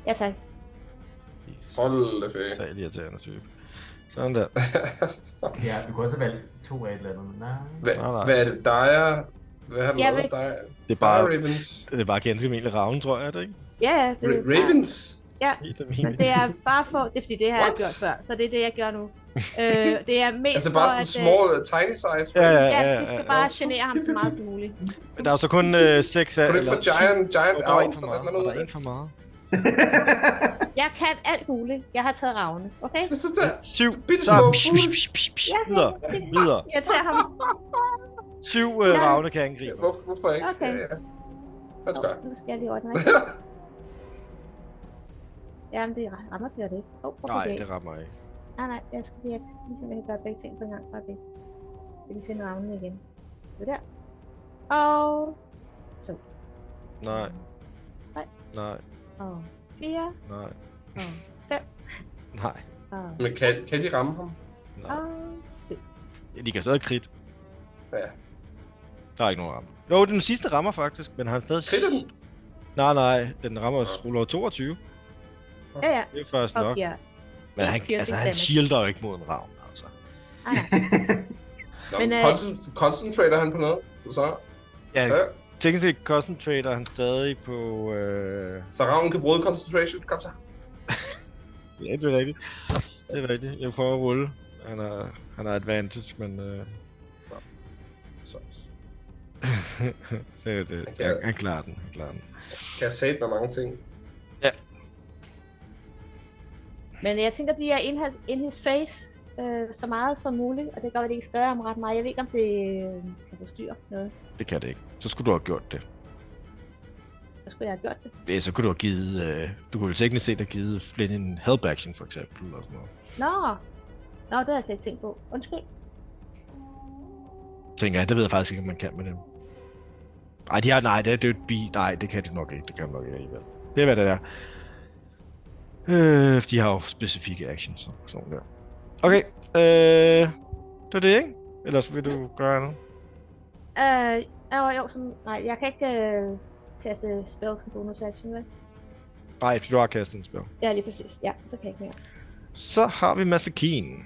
S4: Ja, tak.
S5: Hold da ferie. *laughs*
S2: Så er irriterende type. Sådan der.
S3: Ja, du kan også vælge to af et eller andet, men nej.
S5: Hvad,
S2: Nej, nej.
S5: hvad er det, Dyer? Hvad har du
S4: Jeg
S5: lavet,
S4: vil-
S5: Dyer?
S2: Det er
S5: Dyer
S2: bare,
S5: Ravens.
S2: det er bare ganske almindelig ravn, tror jeg, er det ikke?
S4: Ja, ja. Det,
S5: Ra-
S4: er bare-
S5: Ravens?
S2: Helt
S4: Så
S2: almindelig.
S4: det er bare for... Det er fordi, det har jeg
S5: What?
S4: gjort før, så det er det, jeg gør nu. Øh, det er mest
S5: Altså bare
S4: for, at,
S5: sådan
S4: øh,
S5: small, tiny size?
S2: Ja, ja,
S4: Ja,
S2: ja.
S4: det
S2: ja,
S4: skal
S2: ja.
S4: bare genere ham så meget som muligt.
S2: Men der er jo så kun øh, 6 af...
S5: Kan du ikke få
S2: eller syv-
S5: giant, giant
S2: Og der var en
S5: arms
S2: for
S5: eller et
S2: meget.
S5: eller
S2: Og der er en
S5: andet?
S2: for meget.
S4: Jeg kan alt muligt. Jeg har taget ravne, okay?
S5: Men så tager...
S2: Syv.
S5: Bitte
S2: Så
S5: små
S2: psh, *laughs*
S5: fugle.
S2: psh, psh, psh, psh, videre, videre.
S4: Jeg tager ham.
S2: Syv øh,
S4: Ja.
S2: ravne kan angribe.
S5: Hvorfor, hvorfor ikke?
S4: Okay.
S5: Ja, ja. Let's go.
S4: Nu skal jeg lige ordne. Jamen, det rammer sig det ikke. Oh,
S2: Nej, det rammer ikke.
S4: Nej, nej, jeg skulle lige have, ligesom jeg kan gøre begge ting på en gang, bare det. Jeg vil lige finde ravnen igen. Det der. Og så.
S2: Nej,
S4: 3,
S2: nej,
S4: og 4,
S2: nej,
S4: og 5,
S2: nej.
S4: og,
S5: Men kan, kan de ramme ham?
S2: nej.
S4: og 7.
S2: Ja, de kan stadig krit.
S5: Ja.
S2: Der er ikke nogen rammer. Jo, den sidste rammer faktisk, men har han stadig...
S5: Kritter den?
S2: Nej, nej, den rammer os ruller 22.
S4: Ja, ja.
S2: Det er først
S4: Og
S2: nok.
S4: ja.
S2: Men han,
S4: Piercing
S2: altså, han
S4: damage.
S2: shielder jo ikke mod en ravn, altså.
S4: Ah, nej.
S5: Nå,
S4: Men,
S5: men,
S4: øh,
S5: koncent- concentrater han på noget? Så,
S2: Ja,
S5: ja.
S2: teknisk set concentrator han stadig på... Øh...
S5: så ravnen kan bryde concentration. Kom så.
S2: Ja, det er rigtigt. Det er rigtigt. Jeg prøver at rulle. Han har, han har advantage, men... Øh... *laughs*
S5: så.
S2: så er det,
S5: Okay.
S2: han, han klarer den, han klarer den.
S5: Kan jeg sætte med mange ting?
S4: Men jeg tænker, de er in his, in his face øh, så meget som muligt, og det gør, at det ikke skader ham ret meget. Jeg ved ikke, om det øh, kan forstyrre noget.
S2: Det kan det ikke. Så skulle du have gjort det.
S4: så skulle jeg have gjort det.
S2: Ja, så kunne du have givet... Øh, du kunne jo teknisk set have givet Flynn en help action, for eksempel. Og sådan noget.
S4: Nå, Nå det havde jeg slet ikke tænkt på. Undskyld.
S2: Tænker jeg, det ved jeg faktisk ikke, om man kan med dem. Nej, de har, nej, det er dødt bi. Nej, det kan de nok ikke. Det kan de nok ikke alligevel. Det er, hvad det er. Øh, de har jo specifikke actions og sådan der. Okay, øh, det var det, ikke? Ellers vil du gøre andet?
S4: Øh, jo, jo, sådan, nej, jeg kan ikke øh, kaste spells som bonus action, vel?
S2: Nej, for du har kastet en spil.
S4: Ja, lige præcis. Ja, så kan jeg ikke mere.
S2: Så har vi Masakine.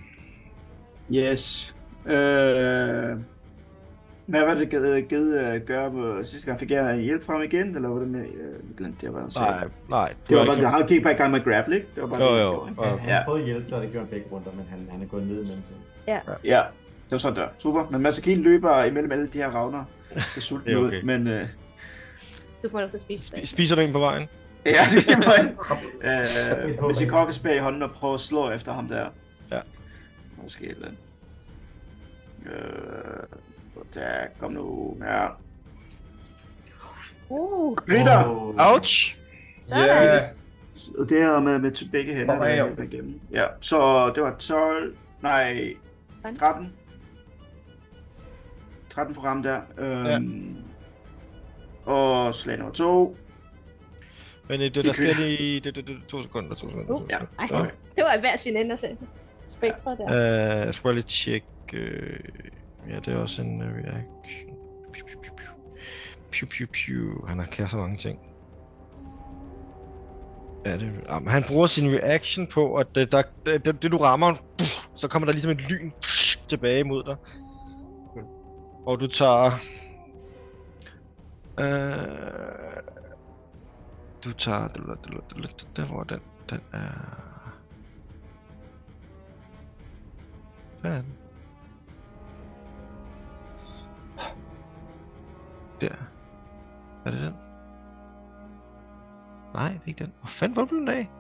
S6: Yes. Øh, hvad var det givet, givet at gøre på sidste gang? Fik jeg hjælp fra ham igen, eller hvordan jeg, øh, glemte det, hvad jeg sagde?
S2: Nej, nej.
S6: Det var
S2: ikke
S6: bare,
S2: så-
S6: han gik bare i gang med at grapple, ikke? Det var bare
S2: Jo,
S6: det, han
S2: jo,
S6: gjorde, ikke?
S2: og-
S3: Han, han
S6: Ja.
S3: har prøvet at hjælpe dig, og det gjorde han begge runder, men han, han er gået ned i mellemtiden.
S6: Ja, det var sådan der. Super. Men Masakin løber imellem alle de her ravner. Så
S2: Det
S6: sulten
S2: er
S6: ud,
S2: okay.
S6: men... Øh, *laughs*
S4: Du får lov til at spise
S2: Spi-
S4: det.
S2: Spiser du en på vejen?
S6: ja, det skal
S3: *laughs*
S6: man.
S3: Mit
S6: øh,
S3: håb
S6: hvis I
S3: er-
S6: kokkes bag i hånden og prøver at slå efter ham der.
S2: Ja.
S6: Måske et eller andet. Øh, der, kom nu. Ja.
S4: Uh,
S6: Ritter!
S3: Åh.
S2: Ouch!
S5: Ja,
S6: Og det her med, med t- begge hænder,
S5: Kom
S6: der
S5: her.
S6: løber igennem. Ja, så det var 12, nej,
S4: Hvordan?
S6: 13. 13 for ham der. Øhm, ja. Og slag nummer 2.
S2: Men øh, det, der sker lige det, det, det, to sekunder, to sekunder, to
S4: Uh,
S6: ja.
S2: sekunder.
S4: Ej,
S2: Så,
S4: det var i hver sin ende at se. Spektra der.
S2: øh, jeg skal bare lige tjekke... Øh, ja, det er også en øh, reaction. Piu, piu, piu, piu. Piu, piu, piu. Han har kan så mange ting. Ja, det, jamen, han bruger sin reaction på, at det, der, det, det, det du rammer, så kommer der ligesom et lyn tilbage mod dig. Og du tager... Øh, du tager... Der hvor er den, den er... Hvad er den? Der. Er det den? Nej, det er ikke den. Hvor fanden var den af?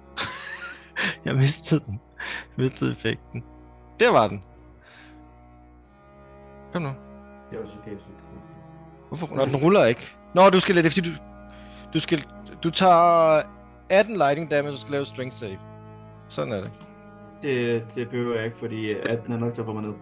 S2: *laughs* jeg mistede den. Jeg mistede effekten. Der var den. Kom nu.
S3: Det var psykiatrisk.
S2: Hvorfor ruller den? ruller ikke. Nå, du skal lidt efter, du... Du skal... Du tager 18 lightning damage, og skal lave strength save. Sådan er det.
S6: Det, det behøver jeg ikke, fordi 18 er nok til at få mig ned.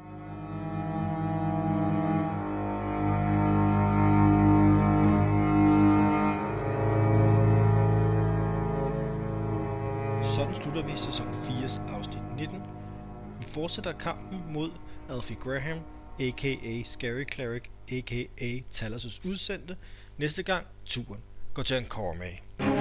S2: Sådan slutter vi sæson 4 afsnit 19. Vi fortsætter kampen mod Alfie Graham, a.k.a. Scary Cleric, a.k.a. Talos' udsendte. Næste gang, turen går til en Cormay.